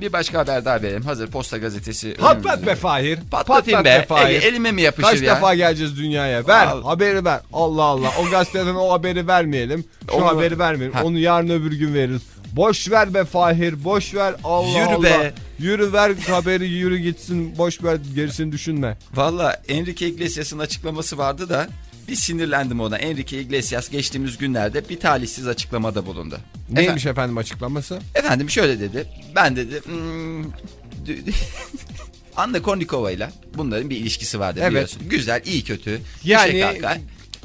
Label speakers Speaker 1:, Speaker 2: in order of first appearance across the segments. Speaker 1: bir başka haber daha verelim. Hazır Posta Gazetesi.
Speaker 2: Patlat be Fahir.
Speaker 1: Hmm. Patlatayım
Speaker 2: Patlat
Speaker 1: be.
Speaker 2: Fahir.
Speaker 1: El- elime mi yapışır
Speaker 2: Kaç
Speaker 1: ya?
Speaker 2: defa geleceğiz dünyaya? Ver
Speaker 1: Al.
Speaker 2: haberi ver. Allah Allah. O gazeteden o haberi vermeyelim. Şu
Speaker 1: Onu-
Speaker 2: haberi vermeyelim.
Speaker 1: Ha.
Speaker 2: Onu yarın öbür gün veririz. Boş ver be Fahir. Boş ver. Allah
Speaker 1: Yürü
Speaker 2: Allah.
Speaker 1: be.
Speaker 2: Yürü ver haberi yürü gitsin. Boş ver gerisini düşünme.
Speaker 1: Valla Enrique Iglesias'ın açıklaması vardı da bir sinirlendim ona. Enrique Iglesias geçtiğimiz günlerde bir talihsiz açıklamada bulundu.
Speaker 2: Neymiş efendim açıklaması?
Speaker 1: Efendim şöyle dedi. Ben dedi... Hmm, dü- dü- Anna Kornikova ile bunların bir ilişkisi vardı
Speaker 2: Evet.
Speaker 1: biliyorsun. Güzel, iyi kötü.
Speaker 2: Yani-
Speaker 1: Yani... Kaka.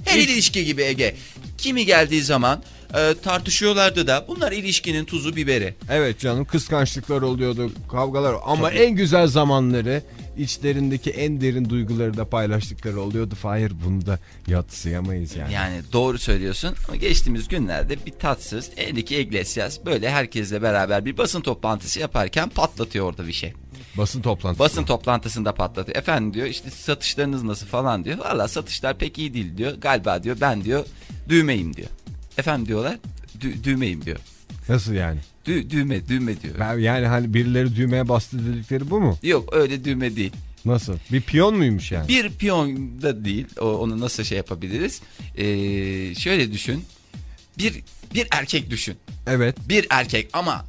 Speaker 1: Her ilişki gibi Ege. Kimi geldiği zaman e, tartışıyorlardı da bunlar ilişkinin tuzu biberi.
Speaker 2: Evet canım kıskançlıklar oluyordu, kavgalar. Ama en güzel zamanları içlerindeki en derin duyguları da paylaştıkları oluyordu. Fahir bunu da yatsıyamayız yani.
Speaker 1: Yani doğru söylüyorsun ama geçtiğimiz günlerde bir tatsız Enrique Iglesias böyle herkesle beraber bir basın toplantısı yaparken patlatıyor orada bir şey.
Speaker 2: Basın toplantısı.
Speaker 1: Basın toplantısında patlatıyor. Efendim diyor işte satışlarınız nasıl falan diyor. Valla satışlar pek iyi değil diyor. Galiba diyor ben diyor düğmeyim diyor. Efendim diyorlar dü- düğmeyim diyor.
Speaker 2: Nasıl yani?
Speaker 1: Dü- düğme düğme diyor.
Speaker 2: Ben yani hani birileri düğmeye bastı dedikleri bu mu?
Speaker 1: Yok öyle düğme değil.
Speaker 2: Nasıl? Bir piyon muymuş yani?
Speaker 1: Bir piyon da değil. O, onu nasıl şey yapabiliriz? Ee, şöyle düşün. Bir bir erkek düşün.
Speaker 2: Evet.
Speaker 1: bir erkek ama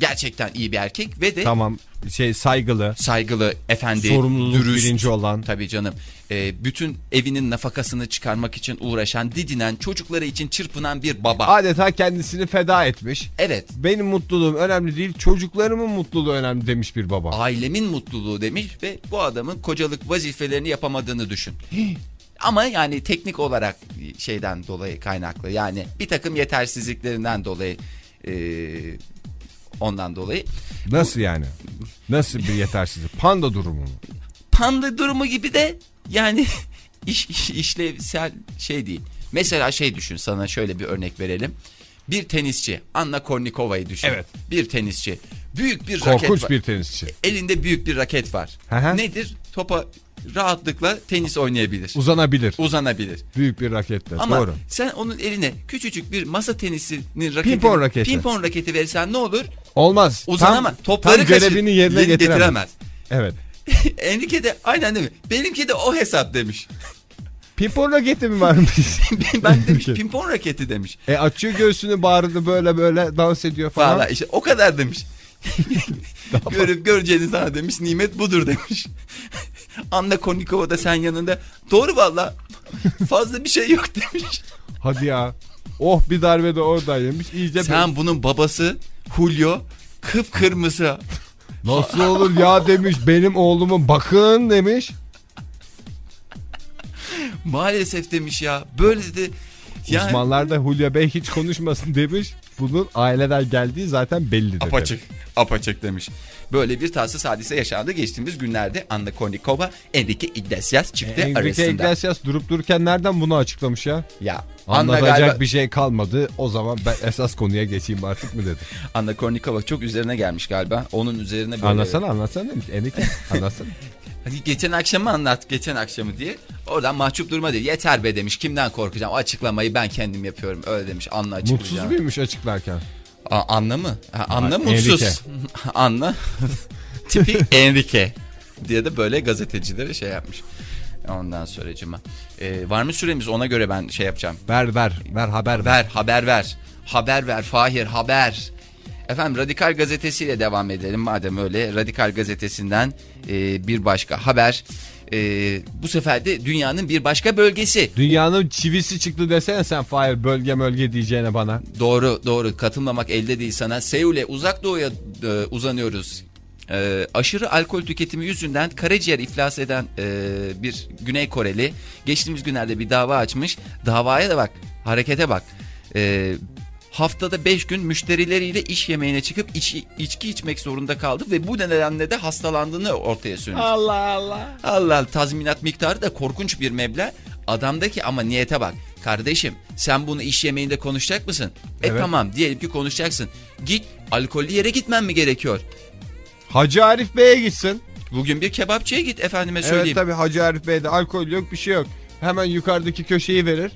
Speaker 1: gerçekten iyi bir erkek ve de
Speaker 2: Tamam. Şey saygılı,
Speaker 1: saygılı, efendi,
Speaker 2: sorumluluk
Speaker 1: dürüst.
Speaker 2: bilinci olan.
Speaker 1: Tabii canım. Ee, bütün evinin nafakasını çıkarmak için uğraşan, didinen, çocukları için çırpınan bir baba.
Speaker 2: Adeta kendisini feda etmiş.
Speaker 1: evet.
Speaker 2: Benim mutluluğum önemli değil, çocuklarımın mutluluğu önemli demiş bir baba.
Speaker 1: Ailemin mutluluğu demiş ve bu adamın kocalık vazifelerini yapamadığını düşün. Ama yani teknik olarak şeyden dolayı kaynaklı yani bir takım yetersizliklerinden dolayı ee, ondan dolayı
Speaker 2: Nasıl yani? Nasıl bir yetersizlik? Panda durumu mu?
Speaker 1: panda durumu gibi de yani iş, iş- işlevsel şey değil. Mesela şey düşün sana şöyle bir örnek verelim. Bir tenisçi Anna Kornikova'yı düşün.
Speaker 2: Evet.
Speaker 1: Bir tenisçi. Büyük bir raket
Speaker 2: Korkunç
Speaker 1: var.
Speaker 2: bir tenisçi.
Speaker 1: Elinde büyük bir raket var.
Speaker 2: Hı hı.
Speaker 1: Nedir? Topa rahatlıkla tenis oynayabilir.
Speaker 2: Uzanabilir.
Speaker 1: Uzanabilir.
Speaker 2: Büyük bir raketle.
Speaker 1: Ama
Speaker 2: Doğru.
Speaker 1: sen onun eline küçücük bir masa tenisinin raketi,
Speaker 2: Pimpon raketi.
Speaker 1: pimpon raketi verirsen ne olur?
Speaker 2: Olmaz.
Speaker 1: Uzanamaz.
Speaker 2: Tam,
Speaker 1: Topları
Speaker 2: tam
Speaker 1: kaçır-
Speaker 2: görevini yerine
Speaker 1: yerine
Speaker 2: getiremez.
Speaker 1: getiremez.
Speaker 2: Evet.
Speaker 1: Enrique de aynen değil mi? Benimki de o hesap demiş.
Speaker 2: Pimpon raketi mi varmış?
Speaker 1: ben demiş pimpon raketi demiş.
Speaker 2: e açıyor göğsünü bağırdı böyle böyle dans ediyor falan.
Speaker 1: Valla işte o kadar demiş. Görüp göreceğiniz sana demiş nimet budur demiş. Anna Kornikova da sen yanında. Doğru valla fazla bir şey yok demiş.
Speaker 2: Hadi ya. Oh bir darbe de oradan yemiş. İyice
Speaker 1: Sen bunun babası Julio kıpkırmızı.
Speaker 2: bir- nasıl olur ya demiş. Benim oğlumun bakın demiş.
Speaker 1: Maalesef demiş ya. Böyle de yani
Speaker 2: Uzmanlar da Hulya Bey hiç konuşmasın demiş. Bunun aileden geldiği zaten belli dedi.
Speaker 1: apaçık. Apaçık demiş. Böyle bir tatsız hadise yaşandı geçtiğimiz günlerde Anna Kornikova, Enrique Iglesias çifti arasında.
Speaker 2: Enrique Iglesias durup dururken nereden bunu açıklamış ya?
Speaker 1: Ya Anna
Speaker 2: Anlatacak
Speaker 1: galiba
Speaker 2: bir şey kalmadı. O zaman ben esas konuya geçeyim artık mı dedi.
Speaker 1: Anna Kornikova çok üzerine gelmiş galiba. Onun üzerine böyle.
Speaker 2: Anlatsana anlatsana demiş. Enrique anlatsana.
Speaker 1: Hani geçen akşamı anlat, geçen akşamı diye. Oradan mahcup durma diye. Yeter be demiş. Kimden korkacağım? O açıklamayı ben kendim yapıyorum. Öyle demiş. Anla
Speaker 2: Mutsuz
Speaker 1: açıklayacağım.
Speaker 2: muymuş açıklarken?
Speaker 1: A- Anna mı? Ha, Anna
Speaker 2: Ha,
Speaker 1: mutsuz. Anna. Tipi Enrique. Diye de böyle gazetecilere şey yapmış. Ondan sonracıma. Ee, var mı süremiz? Ona göre ben şey yapacağım.
Speaker 2: Ver ver ver haber ver.
Speaker 1: Ver haber ver. Haber ver Fahir haber. Efendim Radikal Gazetesi'yle devam edelim madem öyle. Radikal Gazetesi'nden e, bir başka haber. E, bu sefer de dünyanın bir başka bölgesi.
Speaker 2: Dünyanın çivisi çıktı desene sen Fahir bölge bölge diyeceğine bana.
Speaker 1: Doğru doğru katılmamak elde değil sana. Seul'e uzak doğuya e, uzanıyoruz. E, aşırı alkol tüketimi yüzünden karaciğer iflas eden e, bir Güney Koreli geçtiğimiz günlerde bir dava açmış. Davaya da bak harekete bak. E, haftada 5 gün müşterileriyle iş yemeğine çıkıp içi- içki içmek zorunda kaldı ve bu nedenle de hastalandığını ortaya sürmüş.
Speaker 2: Allah Allah.
Speaker 1: Allah tazminat miktarı da korkunç bir meblağ. Adamdaki ama niyete bak. Kardeşim sen bunu iş yemeğinde konuşacak mısın? E
Speaker 2: Evet.
Speaker 1: tamam diyelim ki konuşacaksın. Git alkollü yere gitmen mi gerekiyor?
Speaker 2: Hacı Arif Bey'e gitsin.
Speaker 1: Bugün bir kebapçıya git efendime
Speaker 2: Evet
Speaker 1: söyleyeyim.
Speaker 2: tabi Hacı Arif Bey'de alkol yok bir şey yok. Hemen yukarıdaki köşeyi verir.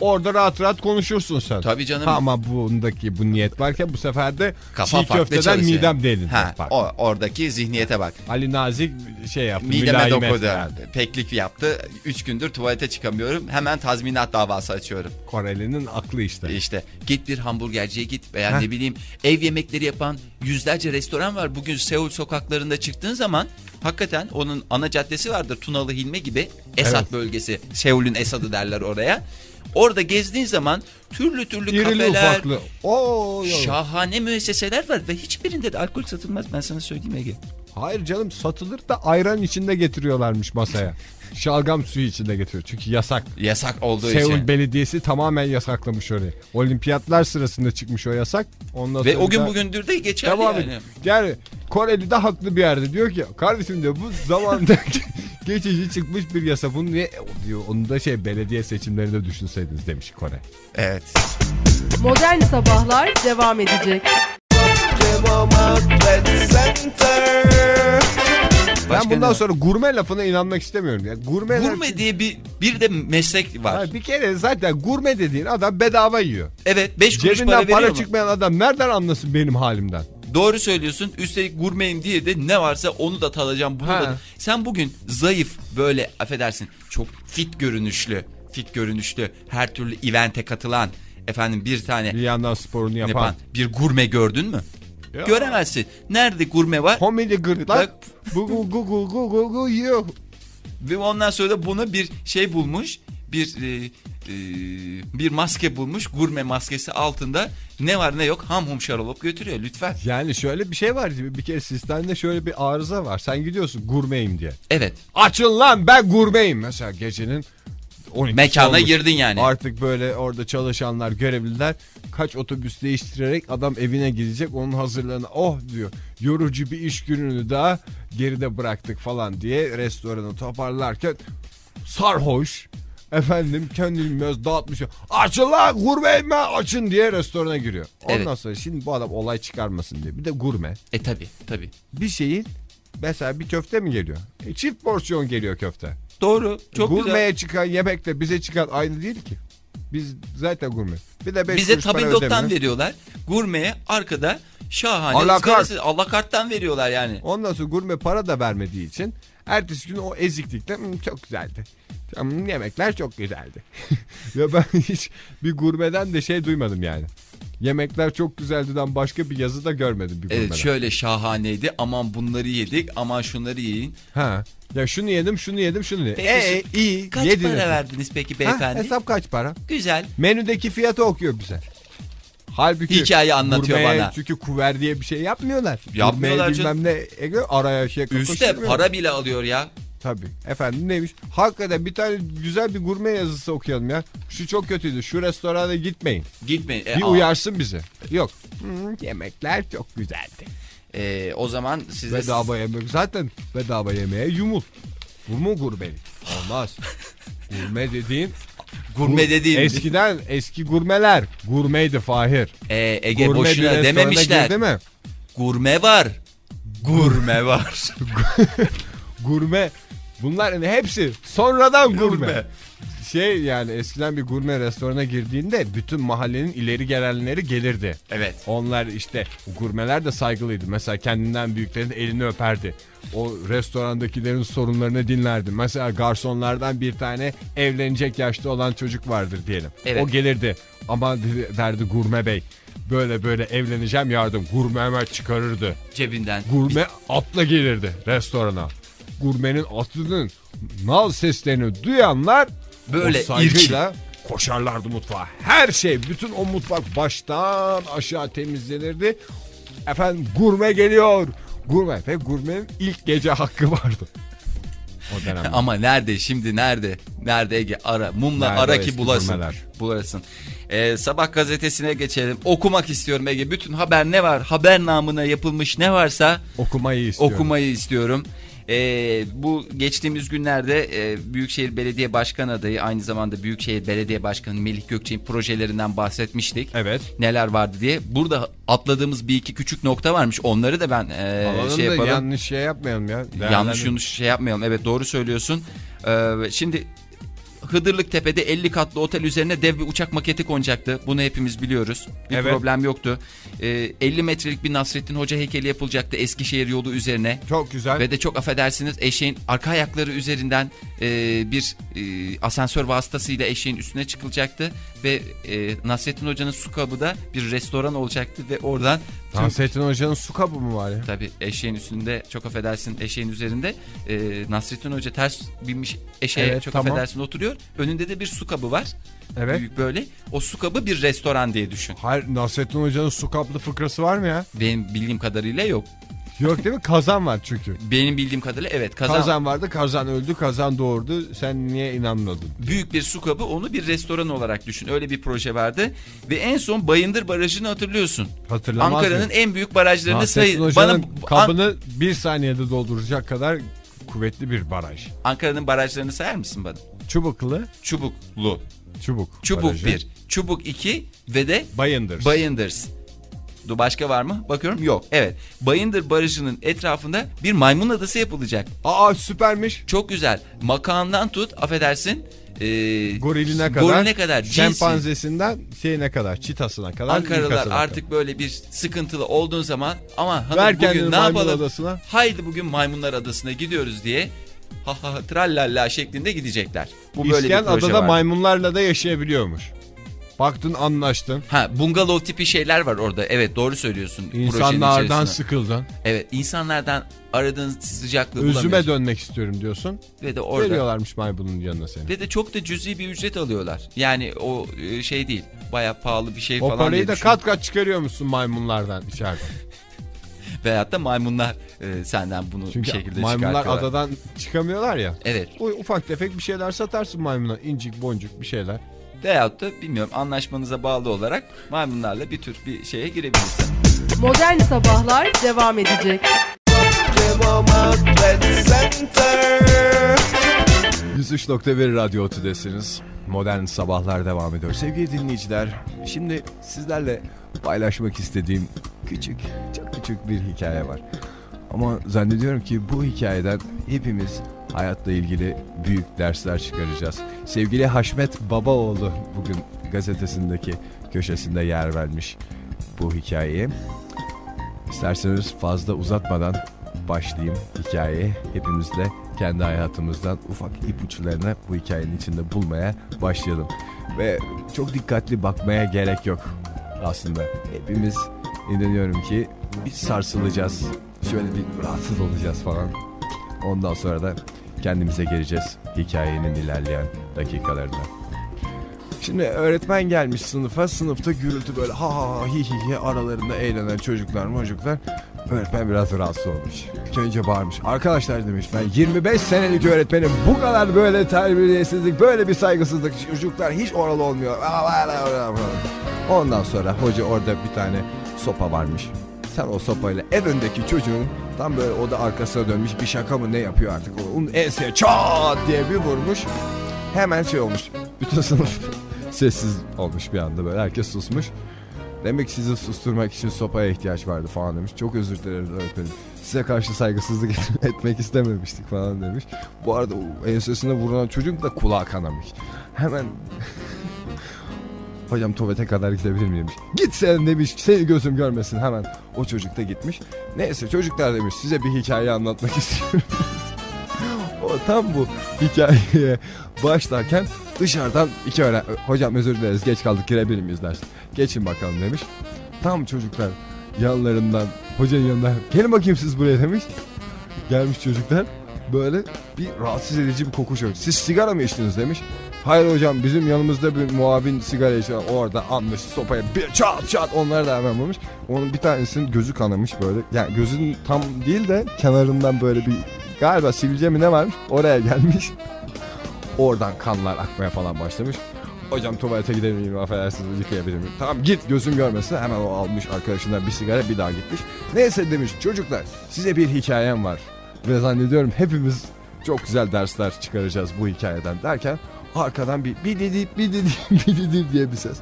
Speaker 2: Orada rahat rahat konuşursun sen.
Speaker 1: Tabii canım.
Speaker 2: Ama bundaki bu niyet varken bu sefer de
Speaker 1: Kafa
Speaker 2: çiğ
Speaker 1: farklı
Speaker 2: köfteden
Speaker 1: çalışıyor.
Speaker 2: midem delindi.
Speaker 1: Ha,
Speaker 2: Bak,
Speaker 1: o, oradaki zihniyete bak.
Speaker 2: Ali Nazik şey yaptı.
Speaker 1: Mideme
Speaker 2: mülayimet
Speaker 1: dokudu.
Speaker 2: verdi.
Speaker 1: Peklik yaptı. Üç gündür tuvalete çıkamıyorum. Hemen tazminat davası açıyorum.
Speaker 2: Koreli'nin aklı işte.
Speaker 1: İşte E, git bir hamburgerciye git veya ne bileyim ev yemekleri yapan yüzlerce restoran var. Bugün Seul sokaklarında çıktığın zaman hakikaten onun ana caddesi vardır Tunalı Hilmi gibi. Esat
Speaker 2: Evet.
Speaker 1: bölgesi Seul'ün Esad'ı derler oraya. Orada gezdiğin zaman türlü türlü
Speaker 2: İrili
Speaker 1: kafeler,
Speaker 2: ufaklı. Oo, yo.
Speaker 1: şahane müesseseler var ve hiçbirinde de alkol satılmaz ben sana söyleyeyim Ege.
Speaker 2: Hayır canım satılır da ayran içinde getiriyorlarmış masaya. Şalgam suyu içinde getiriyor. Çünkü yasak.
Speaker 1: Yasak olduğu
Speaker 2: Seul
Speaker 1: için.
Speaker 2: Belediyesi tamamen yasaklamış orayı. Olimpiyatlar sırasında çıkmış o yasak. Ondan
Speaker 1: Ve
Speaker 2: sonra
Speaker 1: o gün
Speaker 2: da-
Speaker 1: bugündür de geçerli
Speaker 2: Devam
Speaker 1: yani.
Speaker 2: et. Yani Koreli de haklı bir yerde diyor ki kardeşim diyor bu zamanda geçici çıkmış bir yasa bunu niye diyor onu da şey belediye seçimlerinde düşünseydiniz demiş Kore.
Speaker 1: Evet.
Speaker 3: Modern Sabahlar devam edecek.
Speaker 1: Başka
Speaker 2: ben bundan
Speaker 1: ne?
Speaker 2: sonra gurme lafına inanmak istemiyorum. Ya gurme
Speaker 1: Gurme diye bir, bir de meslek var.
Speaker 2: Ya bir kere zaten gurme dediğin adam bedava yiyor.
Speaker 1: Evet 5 kuruş
Speaker 2: Cebinden
Speaker 1: para
Speaker 2: para,
Speaker 1: veriyor mu?
Speaker 2: çıkmayan adam nereden anlasın benim halimden?
Speaker 1: Doğru söylüyorsun. Üstelik gurmeyim diye de ne varsa onu da tadacağım. Bunu
Speaker 2: Ha.
Speaker 1: da. Sen bugün zayıf böyle affedersin çok fit görünüşlü. Fit görünüşlü her türlü evente katılan efendim bir tane
Speaker 2: Bir yandan sporunu yapan.
Speaker 1: yapan bir gurme gördün mü?
Speaker 2: Ya.
Speaker 1: Göremezsin. Nerede gurme var?
Speaker 2: Homili gırtlak
Speaker 1: Gırtlak.
Speaker 2: bu gu gu gu gu gu gu yiyor.
Speaker 1: Ve ondan sonra da buna bir şey bulmuş. Bir e, e, bir maske bulmuş. Gurme maskesi altında ne var ne yok ham hum şarolop götürüyor lütfen.
Speaker 2: Yani şöyle bir şey var bir kere sistemde şöyle bir arıza var. Sen gidiyorsun gurmeyim diye.
Speaker 1: Evet.
Speaker 2: Açın lan ben gurmeyim. Mesela gecenin 12'si
Speaker 1: Mekana
Speaker 2: olmuş.
Speaker 1: girdin yani.
Speaker 2: Artık böyle orada çalışanlar, görevliler kaç otobüs değiştirerek adam evine gidecek. Onun hazırlığına oh diyor. Yorucu bir iş gününü daha geride bıraktık falan diye restoranı toparlarken sarhoş efendim kendini biraz dağıtmış. Açın lan gurmeyim ben açın diye restorana giriyor. Ondan
Speaker 1: Evet.
Speaker 2: sonra şimdi bu adam olay çıkarmasın diye. Bir de gurme
Speaker 1: E tabi tabi.
Speaker 2: bir şeyin mesela bir köfte mi geliyor? E, çift porsiyon geliyor köfte.
Speaker 1: Doğru. Çok
Speaker 2: Gurmeye
Speaker 1: güzel.
Speaker 2: çıkan yemekle bize çıkan aynı değil ki. Biz zaten gurme. Bir de beş
Speaker 1: Bize
Speaker 2: kuruş para
Speaker 1: tabildottan
Speaker 2: ödemiyor.
Speaker 1: veriyorlar. Gurmeye arkada şahane
Speaker 2: Alakart.
Speaker 1: ıskarası alakarttan veriyorlar yani.
Speaker 2: Ondan sonra gurme para da vermediği için ertesi gün o eziklikte "Hmm, çok güzeldi. Hmm, Yemekler çok güzeldi. ya ben hiç bir gurmeden de şey duymadım yani. Yemekler çok güzeldiden başka bir yazı da görmedim bir gurmeden.
Speaker 1: Evet şöyle şahaneydi. Aman bunları yedik. Aman şunları yiyin.
Speaker 2: Ha. Ya şunu yedim, şunu yedim, şunu yedim.
Speaker 1: Peki,
Speaker 2: E, iyi,
Speaker 1: Kaç
Speaker 2: yediniz.
Speaker 1: para verdiniz peki
Speaker 2: Ha,
Speaker 1: beyefendi?
Speaker 2: hesap kaç para?
Speaker 1: Güzel.
Speaker 2: Menüdeki fiyatı okuyor bize. Halbuki
Speaker 1: Hikaye anlatıyor
Speaker 2: gurmeye
Speaker 1: bana.
Speaker 2: Çünkü kuver diye bir şey yapmıyorlar.
Speaker 1: Yapmıyorlar
Speaker 2: Gurmeye
Speaker 1: canım.
Speaker 2: bilmem ne ege araya şey
Speaker 1: Üste
Speaker 2: koşturmuyor.
Speaker 1: para bile alıyor ya.
Speaker 2: Tabii. Efendim neymiş? Hakikaten bir tane güzel bir gurme yazısı okuyalım ya. Şu çok kötüydü. Şu restorana gitmeyin.
Speaker 1: Gitmeyin. E,
Speaker 2: Bir
Speaker 1: aa,
Speaker 2: uyarsın bizi. Yok. Hmm, yemekler çok güzeldi.
Speaker 1: e, o zaman size
Speaker 2: Bedava yemek. Zaten bedava yemeğe yumul. Bu mu gurmelik? Olmaz. gurme dediğin
Speaker 1: gurme dediğim.
Speaker 2: Eskiden eski gurmeler gurmeydi Fahir.
Speaker 1: E, Ege
Speaker 2: Gurme bir
Speaker 1: boşuna
Speaker 2: restorana
Speaker 1: dememişler.
Speaker 2: girdi mi?
Speaker 1: Gurme var. Gurme var.
Speaker 2: Gurme. Bunların hepsi sonradan gurme.
Speaker 1: Gurme.
Speaker 2: Şey yani eskiden bir gurme restorana girdiğinde bütün mahallenin ileri gelenleri gelirdi.
Speaker 1: evet.
Speaker 2: Onlar işte gurmeler de saygılıydı. Mesela kendinden büyüklerin elini öperdi. O restorandakilerin sorunlarını dinlerdi. Mesela garsonlardan bir tane evlenecek yaşta olan çocuk vardır diyelim.
Speaker 1: Evet.
Speaker 2: O gelirdi. Aman dedi- derdi gurme bey. Böyle böyle evleneceğim yardım. Gurme hemen çıkarırdı.
Speaker 1: Cebinden.
Speaker 2: Gurme atla gelirdi restorana. Gurmenin atının nal seslerini duyanlar
Speaker 1: Böyle
Speaker 2: o saygıyla koşarlardı mutfağa. Her şey bütün o mutfak baştan aşağı temizlenirdi. Efendim gurme geliyor. Gurme ve gurmenin ilk gece hakkı vardı. O dönemde.
Speaker 1: Ama nerede şimdi nerede? Nerede Ege? Ara. Mumla
Speaker 2: Nerede
Speaker 1: ara
Speaker 2: o
Speaker 1: ki
Speaker 2: eski
Speaker 1: bulasın.
Speaker 2: gurmeler?
Speaker 1: Bulasın. Ee, sabah gazetesine geçelim. Okumak istiyorum Ege. Bütün haber ne var? Haber namına yapılmış ne varsa
Speaker 2: Okumayı istiyorum.
Speaker 1: okumayı istiyorum. Ee, bu geçtiğimiz günlerde e, Büyükşehir Belediye Başkan adayı aynı zamanda Büyükşehir Belediye Başkanı Melih Gökçek'in projelerinden bahsetmiştik.
Speaker 2: Evet.
Speaker 1: Neler vardı diye. Burada atladığımız bir iki küçük nokta varmış. Onları da ben e,
Speaker 2: Alalım
Speaker 1: şey
Speaker 2: da
Speaker 1: yapalım.
Speaker 2: yanlış şey yapmayalım ya.
Speaker 1: Yanlış yanlış şey yapmayalım. Evet doğru söylüyorsun. Ee, şimdi Hıdırlık Tepe'de 50 katlı otel üzerine dev bir uçak maketi konacaktı. Bunu hepimiz biliyoruz. Bir
Speaker 2: Evet.
Speaker 1: problem yoktu. Ee, 50 metrelik bir Nasrettin Hoca heykeli yapılacaktı Eskişehir yolu üzerine.
Speaker 2: Çok güzel.
Speaker 1: Ve de çok affedersiniz eşeğin arka ayakları üzerinden e, bir e, asansör vasıtasıyla eşeğin üstüne çıkılacaktı. Ve e, Nasrettin Hoca'nın su kabı da bir restoran olacaktı ve oradan tüm-
Speaker 2: Nasrettin Hoca'nın su kabı mı var ya?
Speaker 1: Tabii eşeğin üstünde çok affedersin eşeğin üzerinde e, Nasrettin Hoca ters binmiş eşeğe
Speaker 2: Evet,
Speaker 1: çok
Speaker 2: tamam.
Speaker 1: affedersin oturuyor. Önünde de bir su kabı var.
Speaker 2: Evet.
Speaker 1: Büyük böyle. O su kabı bir restoran diye düşün.
Speaker 2: Hayır Nasrettin Hoca'nın su kaplı fıkrası var mı ya?
Speaker 1: Benim bildiğim kadarıyla yok.
Speaker 2: Yok değil mi? Kazan var çünkü.
Speaker 1: Benim bildiğim kadarıyla evet kazan,
Speaker 2: Kazan, vardı, kazan öldü, kazan doğurdu. Sen niye inanmadın?
Speaker 1: büyük bir su kabı onu bir restoran olarak düşün. Öyle bir proje vardı. Ve en son Bayındır Barajı'nı hatırlıyorsun.
Speaker 2: Hatırlamaz
Speaker 1: Ankara'nın
Speaker 2: mı?
Speaker 1: en büyük barajlarını
Speaker 2: Nasrettin
Speaker 1: sayı.
Speaker 2: Hoca'nın
Speaker 1: An-
Speaker 2: kabını bir saniyede dolduracak kadar kuvvetli bir baraj.
Speaker 1: Ankara'nın barajlarını sayar mısın bana?
Speaker 2: Çubuklu,
Speaker 1: Çubuklu.
Speaker 2: çubuk.
Speaker 1: Çubuk
Speaker 2: barajı.
Speaker 1: 1, Çubuk 2 ve de
Speaker 2: Bayındır.
Speaker 1: Bayınders. Dur başka var mı? Bakıyorum yok. Evet. Bayındır Barajı'nın etrafında bir maymun adası yapılacak.
Speaker 2: Aa süpermiş.
Speaker 1: Çok güzel. Makandan tut affedersin. ee,
Speaker 2: Goriline kadar.
Speaker 1: Goriline kadar. cinsi.
Speaker 2: Şempanzesinden şeyine kadar, çitasına kadar.
Speaker 1: Ankaralılar
Speaker 2: inkasına kadar.
Speaker 1: artık böyle bir sıkıntılı olduğun zaman ama hanım
Speaker 2: Ver kendini
Speaker 1: bugün ne
Speaker 2: maymun
Speaker 1: yapalım?
Speaker 2: adasına.
Speaker 1: Haydi bugün maymunlar adasına gidiyoruz diye ha ha ha, trallalla şeklinde gidecekler. Bu böyle
Speaker 2: İsteyen
Speaker 1: bir proje
Speaker 2: adada
Speaker 1: var.
Speaker 2: maymunlarla da yaşayabiliyormuş. Baktın anlaştın.
Speaker 1: Ha bungalov tipi şeyler var orada. Evet doğru söylüyorsun. projenin
Speaker 2: İnsanlardan
Speaker 1: içerisinde.
Speaker 2: sıkıldın.
Speaker 1: Evet insanlardan aradığın sıcaklığı
Speaker 2: Özüme
Speaker 1: bulamıyorsun.
Speaker 2: dönmek istiyorum diyorsun.
Speaker 1: Ve de orada.
Speaker 2: Veriyorlarmış maymunun yanına seni.
Speaker 1: Ve de çok da cüzi bir ücret alıyorlar. Yani o e, şey değil. Baya pahalı bir şey
Speaker 2: O
Speaker 1: falan
Speaker 2: parayı
Speaker 1: diye
Speaker 2: da
Speaker 1: düşün.
Speaker 2: kat kat çıkarıyor musun maymunlardan içeriden?
Speaker 1: Veyahut da maymunlar e, senden bunu
Speaker 2: Çünkü
Speaker 1: bir şekilde
Speaker 2: maymunlar
Speaker 1: çıkartıyorlar.
Speaker 2: adadan çıkamıyorlar ya.
Speaker 1: Evet.
Speaker 2: Bu ufak tefek bir şeyler satarsın maymuna. incik boncuk bir şeyler.
Speaker 1: Veyahut da bilmiyorum anlaşmanıza bağlı olarak maymunlarla bir tür bir şeye girebilirsin.
Speaker 3: Modern Sabahlar devam edecek.
Speaker 2: Center. 103.1 Radyo Tüdesiniz. Modern Sabahlar devam ediyor. Sevgili dinleyiciler, şimdi sizlerle paylaşmak istediğim küçük, çok küçük bir hikaye var. Ama zannediyorum ki bu hikayeden hepimiz hayatla ilgili büyük dersler çıkaracağız. Sevgili Haşmet Babaoğlu bugün gazetesindeki köşesinde yer vermiş bu hikayeyi. İsterseniz fazla uzatmadan başlayayım hikayeyi. Hepimiz de kendi hayatımızdan ufak ipuçlarını bu hikayenin içinde bulmaya başlayalım. Ve çok dikkatli bakmaya gerek yok aslında. Hepimiz inanıyorum ki bir sarsılacağız. Şöyle bir rahatsız olacağız falan. Ondan sonra da kendimize geleceğiz hikayenin ilerleyen dakikalarında. Şimdi öğretmen gelmiş sınıfa. Sınıfta gürültü böyle ha ha ha, hi hi hi aralarında eğlenen çocuklar çocuklar. Öğretmen biraz rahatsız olmuş. Önce bağırmış. Arkadaşlar demiş ben 25 senelik öğretmenim. Bu kadar böyle terbiyesizlik, böyle bir saygısızlık. Çocuklar hiç oralı olmuyor. Ondan sonra hoca orada bir tane sopa varmış. Sen o sopayla en öndeki çocuğun tam böyle o da arkasına dönmüş bir şaka mı ne yapıyor artık. Onun enseye çat diye bir vurmuş. Hemen şey olmuş. Bütün sınıf sessiz olmuş bir anda böyle. Herkes susmuş. Demek ki sizi susturmak için sopaya ihtiyaç vardı falan demiş. Çok özür dileriz öğretmenim. Size karşı saygısızlık et- etmek istememiştik falan demiş. Bu arada o ensesine vurulan çocuk da kulağı kanamış. Hemen Hocam tuvalete kadar gidebilir miyim? Git sen demiş. Seni gözüm görmesin hemen. O çocuk da gitmiş. Neyse çocuklar demiş size bir hikaye anlatmak istiyorum. o tam bu hikayeye başlarken dışarıdan iki öğren... Hocam özür dileriz geç kaldık girebilir miyiz ders? Geçin bakalım demiş. Tam çocuklar yanlarından hocanın yanından gelin bakayım siz buraya demiş. Gelmiş çocuklar böyle bir rahatsız edici bir koku çöktü. Siz sigara mı içtiniz demiş. Hayır hocam bizim yanımızda bir muavin sigara içiyor. Orada almış sopaya bir çat çat onları da hemen vurmuş. Onun bir tanesinin gözü kanamış böyle. Yani gözün tam değil de kenarından böyle bir galiba sivilce mi ne varmış oraya gelmiş. Oradan kanlar akmaya falan başlamış. Hocam tuvalete gidebilir miyim affedersiniz yıkayabilir miyim? Tamam git gözüm görmesin hemen o almış arkadaşından bir sigara bir daha gitmiş. Neyse demiş çocuklar size bir hikayem var. Ve zannediyorum hepimiz çok güzel dersler çıkaracağız bu hikayeden derken arkadan bir bir didip bir didip bir didip diye bir ses.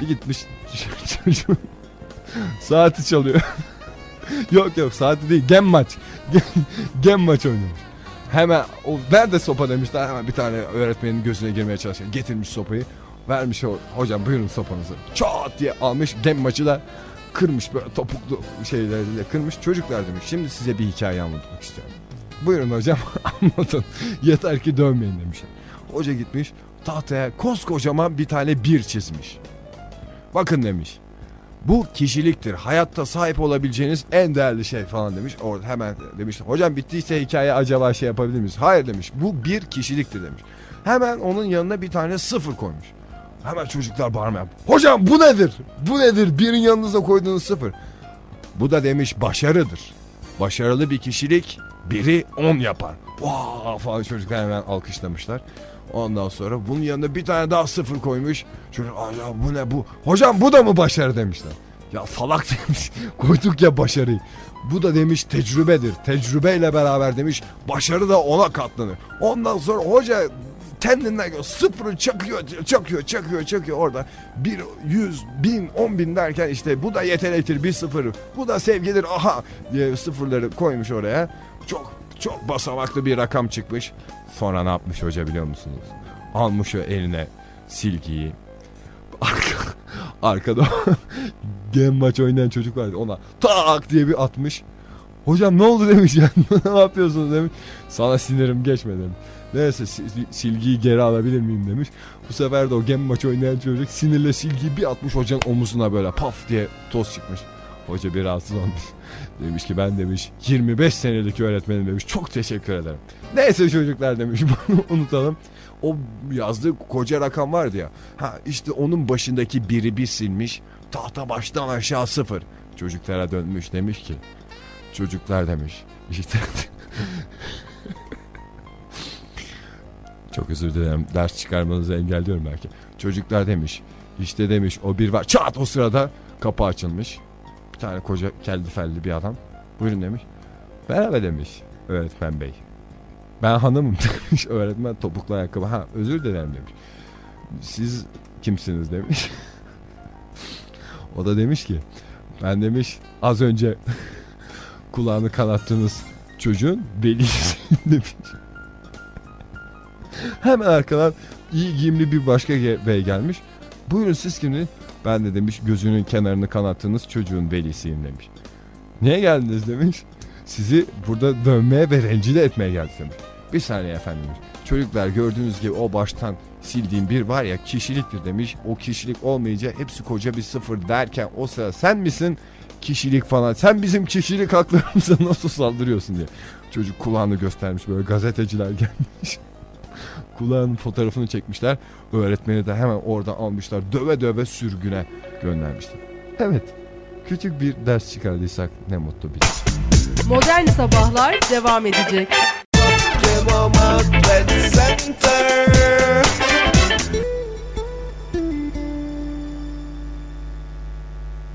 Speaker 2: Bir gitmiş çocuğun saati çalıyor. yok yok saati değil gem maç. Gem, gem maç oynuyor. Hemen o nerede sopa demişler hemen bir tane öğretmenin gözüne girmeye çalışıyor. Getirmiş sopayı. Vermiş o hocam buyurun sopanızı. Çat diye almış gem maçı da kırmış böyle topuklu şeylerle kırmış. Çocuklar demiş şimdi size bir hikaye anlatmak istiyorum. Buyurun hocam anlatın. Yeter ki dönmeyin demişler. Hoca gitmiş tahtaya koskocaman bir tane bir çizmiş. Bakın demiş. Bu kişiliktir. Hayatta sahip olabileceğiniz en değerli şey falan demiş. Orada hemen demiş. Hocam bittiyse hikaye acaba şey yapabilir miyiz? Hayır demiş. Bu bir kişiliktir demiş. Hemen onun yanına bir tane sıfır koymuş. Hemen çocuklar bağırmaya. Hocam bu nedir? Bu nedir? Birin yanınıza koyduğunuz sıfır. Bu da demiş başarıdır. Başarılı bir kişilik biri on yapar. Vaa falan çocuklar hemen alkışlamışlar. Ondan sonra bunun yanına bir tane daha sıfır koymuş. Çocuk "Aa ya bu ne bu? Hocam bu da mı başarı demişler. Ya salak demiş. Koyduk ya başarıyı. Bu da demiş tecrübedir. Tecrübeyle beraber demiş başarı da ona katlanır. Ondan sonra hoca kendinden gö- sıfırı çakıyor, çakıyor, çakıyor, çakıyor orada. Bir, yüz, bin, on bin derken işte bu da yetenektir bir sıfır, bu da sevgidir aha diye sıfırları koymuş oraya. Çok çok basamaklı bir rakam çıkmış. Sonra ne yapmış hoca biliyor musunuz? Almış o eline silgiyi. Arka, arkada gem maç oynayan çocuk vardı ona tak diye bir atmış. Hocam ne oldu demiş ya ne yapıyorsunuz demiş. Sana sinirim geçmedi demiş. Neyse si- si- silgiyi geri alabilir miyim demiş. Bu sefer de o gem maçı oynayan çocuk sinirle silgiyi bir atmış hocanın omuzuna böyle paf diye toz çıkmış. Hoca bir rahatsız olmuş. Demiş ki ben demiş 25 senelik öğretmenim demiş. Çok teşekkür ederim. Neyse çocuklar demiş bunu unutalım. O yazdığı koca rakam vardı ya. Ha işte onun başındaki biri bir silmiş. Tahta baştan aşağı sıfır. Çocuklara dönmüş demiş ki. Çocuklar demiş. şey İşte Çok özür dilerim. Ders çıkarmanızı engelliyorum belki. Çocuklar demiş. İşte demiş o bir var. Çat o sırada kapı açılmış. Bir tane koca keldi felli bir adam. Buyurun demiş. Merhaba demiş öğretmen bey. Ben hanımım demiş öğretmen topuklu ayakkabı. Ha özür dilerim demiş. Siz kimsiniz demiş. o da demiş ki ben demiş az önce kulağını kanattığınız çocuğun belisiyim demiş. Hemen arkadan iyi giyimli bir başka ge- bey gelmiş. Buyurun siz kimdi? Ben de demiş gözünün kenarını kanattığınız çocuğun velisiyim demiş. Niye geldiniz demiş. Sizi burada dövmeye ve rencide etmeye geldim demiş. Bir saniye efendim demiş. Çocuklar gördüğünüz gibi o baştan sildiğim bir var ya kişiliktir demiş. O kişilik olmayınca hepsi koca bir sıfır derken o sıra sen misin kişilik falan sen bizim kişilik haklarımıza nasıl saldırıyorsun diye. Çocuk kulağını göstermiş böyle gazeteciler gelmiş kulağının fotoğrafını çekmişler. Öğretmeni de hemen oradan almışlar. Döve döve sürgüne göndermişler. Evet. Küçük bir ders çıkardıysak ne mutlu bize.
Speaker 3: Modern Sabahlar devam edecek.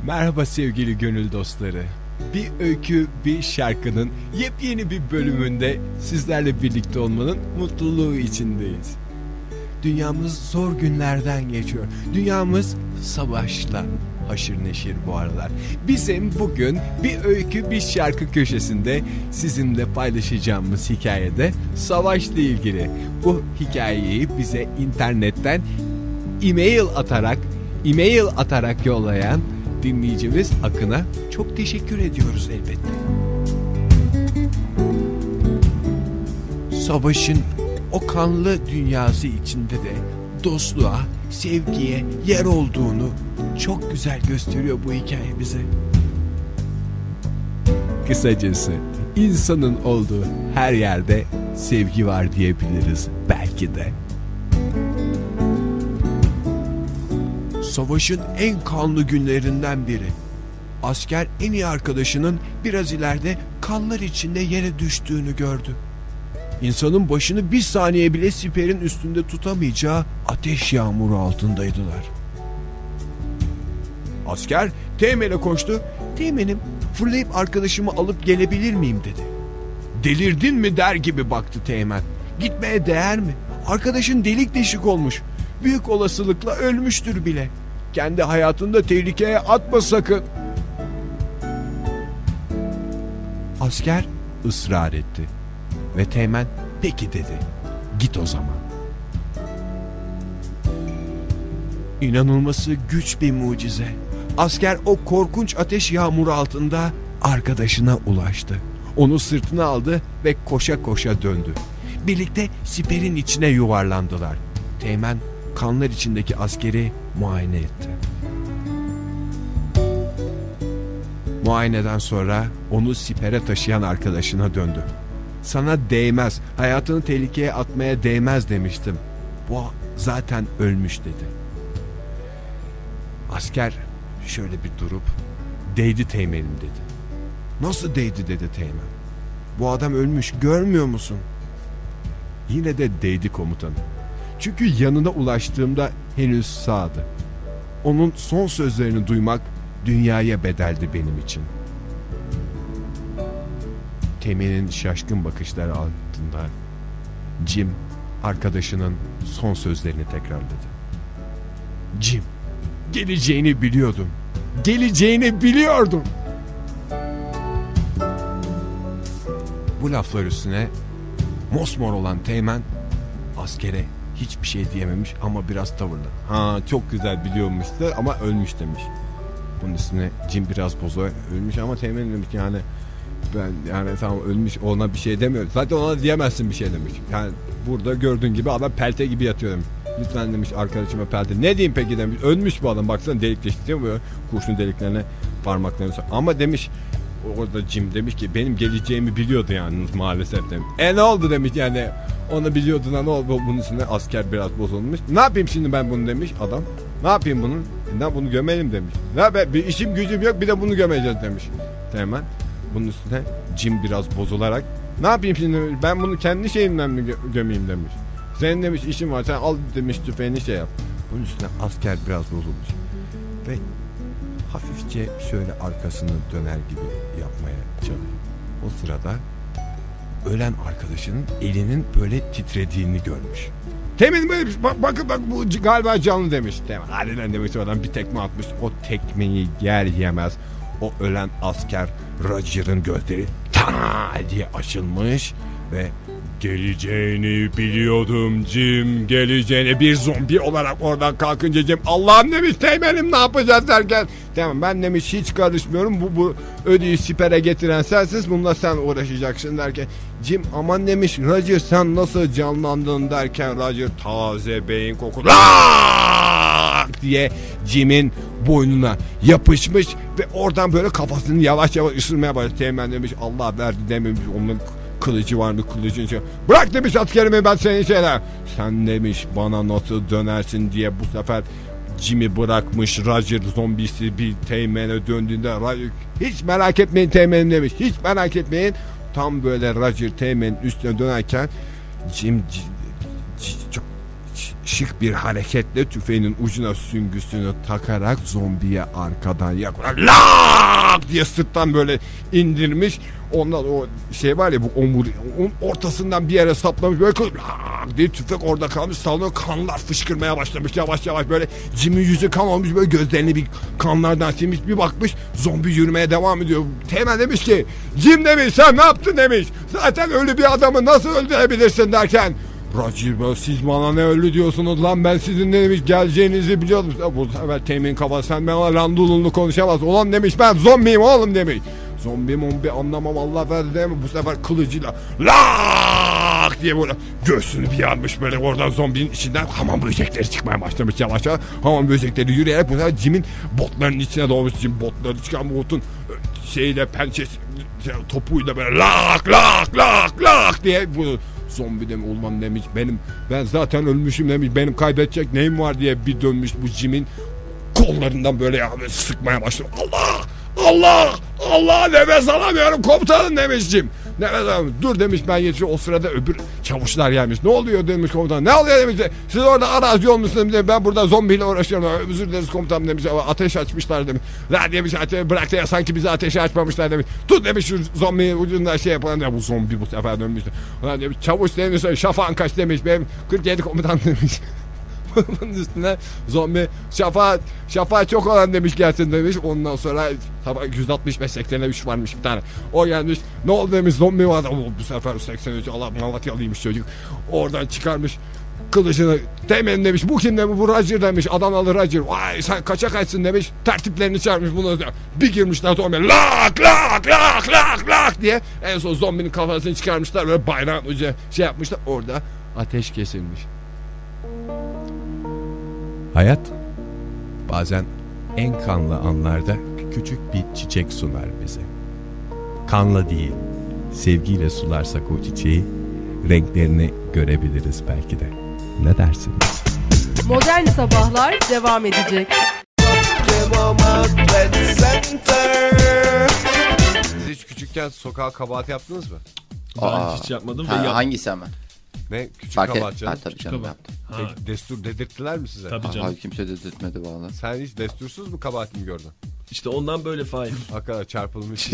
Speaker 2: Merhaba sevgili gönül dostları. Bir öykü, bir şarkının yepyeni bir bölümünde sizlerle birlikte olmanın mutluluğu içindeyiz. Dünyamız zor günlerden geçiyor. Dünyamız savaşla haşır neşir bu aralar. Bizim bugün bir öykü bir şarkı köşesinde sizinle paylaşacağımız hikayede savaşla ilgili. Bu hikayeyi bize internetten e-mail atarak e-mail atarak yollayan dinleyicimiz Akın'a çok teşekkür ediyoruz elbette. Savaşın o kanlı dünyası içinde de dostluğa, sevgiye yer olduğunu çok güzel gösteriyor bu hikaye bize. Kısacası insanın olduğu her yerde sevgi var diyebiliriz belki de. Savaşın en kanlı günlerinden biri. Asker en iyi arkadaşının biraz ileride kanlar içinde yere düştüğünü gördü. İnsanın başını bir saniye bile siperin üstünde tutamayacağı ateş yağmuru altındaydılar. Asker Teğmen'e e koştu. Teğmen'im fırlayıp arkadaşımı alıp gelebilir miyim dedi. Delirdin mi der gibi baktı Teğmen. Gitmeye değer mi? Arkadaşın delik deşik olmuş. Büyük olasılıkla ölmüştür bile. Kendi hayatını da tehlikeye atma sakın. Asker ısrar etti ve Teğmen Peki dedi. Git o zaman. İnanılması güç bir mucize. Asker o korkunç ateş yağmuru altında arkadaşına ulaştı. Onu sırtına aldı ve koşa koşa döndü. Birlikte siperin içine yuvarlandılar. Teğmen kanlar içindeki askeri muayene etti. Muayeneden sonra onu sipere taşıyan arkadaşına döndü. Sana değmez, hayatını tehlikeye atmaya değmez demiştim. Bu zaten ölmüş dedi. Asker şöyle bir durup değdi teğmenim dedi. Nasıl değdi dedi teğmen. Bu adam ölmüş görmüyor musun? Yine de değdi komutanım. Çünkü yanına ulaştığımda henüz sağdı. Onun son sözlerini duymak dünyaya bedeldi benim için. Temin'in şaşkın bakışları altında Jim arkadaşının son sözlerini tekrarladı. Jim, geleceğini biliyordum. Geleceğini biliyordum. Bu laflar üstüne mosmor olan Teğmen askere hiçbir şey diyememiş ama biraz tavırlı. Ha çok güzel biliyormuş da ama ölmüş demiş. Bunun üstüne Jim biraz bozo ölmüş ama Teğmen demiş ki yani ben yani tamam ölmüş ona bir şey demiyorum. Zaten ona diyemezsin bir şey demiş. Yani burada gördüğün gibi adam pelte gibi yatıyor demiş. Lütfen demiş arkadaşıma pelte. Ne diyeyim peki demiş. Ölmüş bu adam baksana delik deşti değil mi? Böyle Kurşun deliklerine parmaklarını sok. Ama demiş orada Jim demiş ki benim geleceğimi biliyordu yani maalesef demiş. E ne oldu demiş yani onu biliyordun ama ne oldu bunun üstüne asker biraz bozulmuş. Ne yapayım şimdi ben bunu demiş adam. Ne yapayım bunun? E, Ne bunu gömelim demiş. Ne yapayım bir işim gücüm yok bir de bunu gömeceğiz demiş. Teğmen bunun üstüne Jim biraz bozularak ne yapayım şimdi demiş, ben bunu kendi şeyimden mi gö- gömeyim demiş. Senin demiş işin var sen al demiş tüfeğini şey yap. Bunun üstüne asker biraz bozulmuş. Ve hafifçe şöyle arkasını döner gibi yapmaya çalışıyor. O sırada ölen arkadaşının elinin böyle titrediğini görmüş. Temin böyle bir- şey. bak, bakın bak bu c- galiba canlı demiş. Temin hadi lan demiş oradan bir tekme atmış. O tekmeyi yer yemez. O ölen asker Roger'ın gözleri tana diye açılmış ve geleceğini biliyordum Jim geleceğini bir zombi olarak oradan kalkınca Jim Allah'ım demiş teğmenim ne yapacağız derken tamam ben demiş hiç karışmıyorum bu, bu ödüyü sipere getiren sensiz bununla sen uğraşacaksın derken Jim aman demiş Roger sen nasıl canlandın derken Roger taze beyin koku "Lak!" diye Jim'in boynuna yapışmış ve oradan böyle kafasını yavaş yavaş ısırmaya başladı. Teğmen demiş Allah verdi dememiş onun kılıcı var mı kılıcın şey. Bırak demiş askerimi ben senin şeyler. Sen demiş bana nasıl dönersin diye bu sefer Jim'i bırakmış Roger zombisi bir teğmene döndüğünde Roger hiç merak etmeyin teğmenim demiş. Hiç merak etmeyin. Tam böyle Roger teğmenin üstüne dönerken Jim c- c- çok ş- şık bir hareketle tüfeğinin ucuna süngüsünü takarak zombiye arkadan yaklaşık Lak diye sırttan böyle indirmiş. Ondan o şey var ya bu omur onun ortasından bir yere saplamış böyle kız- lak diye tüfek orada kalmış sallanıyor kanlar fışkırmaya başlamış yavaş yavaş böyle Jim'in yüzü kan olmuş böyle gözlerini bir kanlardan silmiş bir bakmış zombi yürümeye devam ediyor. Teğmen demiş ki Jim demiş sen ne yaptın demiş zaten ölü bir adamı nasıl öldürebilirsin derken Roger Bell, siz bana ne öldü diyorsunuz lan ben sizin ne demiş geleceğinizi biliyordum. Ya Bu sefer temin kafa sen bana randulunlu konuşamaz. Ulan demiş ben zombiyim oğlum demiş. Zombi mombi anlamam Allah verdi değil mi? Bu sefer kılıcıyla lak diye böyle göğsünü bir yarmış böyle oradan zombinin içinden hamam böcekleri çıkmaya başlamış yavaş yavaş. Hamam böcekleri yürüyerek bu sefer Jim'in botlarının içine doğmuş. Jim botları çıkan botun şeyle pençesi şey, topuyla böyle lak lak lak lak diye bu zombi demiş olmam demiş benim ben zaten ölmüşüm demiş benim kaybedecek neyim var diye bir dönmüş bu Jim'in kollarından böyle ya böyle sıkmaya başladı. Allah Allah Allah nefes alamıyorum komutanım demiş Jim. Nefes alamıyorum. Dur demiş ben yetişiyorum. O sırada öbür çavuşlar gelmiş. Ne oluyor demiş komutan. Ne oluyor demiş. Siz orada arazi olmuşsunuz demiş. Ben burada zombiyle uğraşıyorum. Özür dileriz komutanım demiş. Ama ateş açmışlar demiş. La demiş ateş bırak ya sanki bize ateşi açmamışlar demiş. Tut demiş şu zombiyi ucundan şey yapalım demiş. Bu zombi bu sefer dönmüş. La demiş çavuş demiş. Şafağın kaç demiş. Benim 47 komutan demiş. Bunun üstüne zombi şafaat, şafaat çok olan demiş gelsin demiş. Ondan sonra sabah 165 83 varmış bir tane. O gelmiş ne oldu demiş zombi var. "Oo, Bu sefer 83 Allah Malatyalıymış çocuk. Oradan çıkarmış kılıcını temin demiş bu kim demiş bu Roger demiş Adanalı Roger vay sen kaça kaçsın demiş tertiplerini çağırmış bunu bir girmişler zombi lak lak lak lak lak diye en son zombinin kafasını çıkarmışlar böyle bayrağın ucu şey yapmışlar orada ateş kesilmiş Hayat bazen en kanlı anlarda küçük bir çiçek sunar bize. Kanla değil, sevgiyle sularsak o çiçeği renklerini görebiliriz belki de. Ne dersiniz?
Speaker 3: Modern Sabahlar devam edecek.
Speaker 2: Siz hiç küçükken sokağa kabahat yaptınız mı?
Speaker 4: Aa.
Speaker 5: Ben hiç yapmadım ve
Speaker 4: Ha,
Speaker 5: yap-
Speaker 4: hangisi ama?
Speaker 2: Ne küçük
Speaker 4: Fark et.
Speaker 2: kabahat
Speaker 4: Ha,
Speaker 2: canım?
Speaker 4: tabii canım
Speaker 5: Tabii.
Speaker 4: yaptım.
Speaker 5: Ha,
Speaker 2: Peki Destur dedirttiler mi size?
Speaker 5: tabii canım.
Speaker 4: Aha, kimse de düzeltmedi valla.
Speaker 2: Sen hiç destursuz mu kabahat mi gördün?
Speaker 5: İşte ondan böyle fail.
Speaker 2: Hakikaten çarpılmış.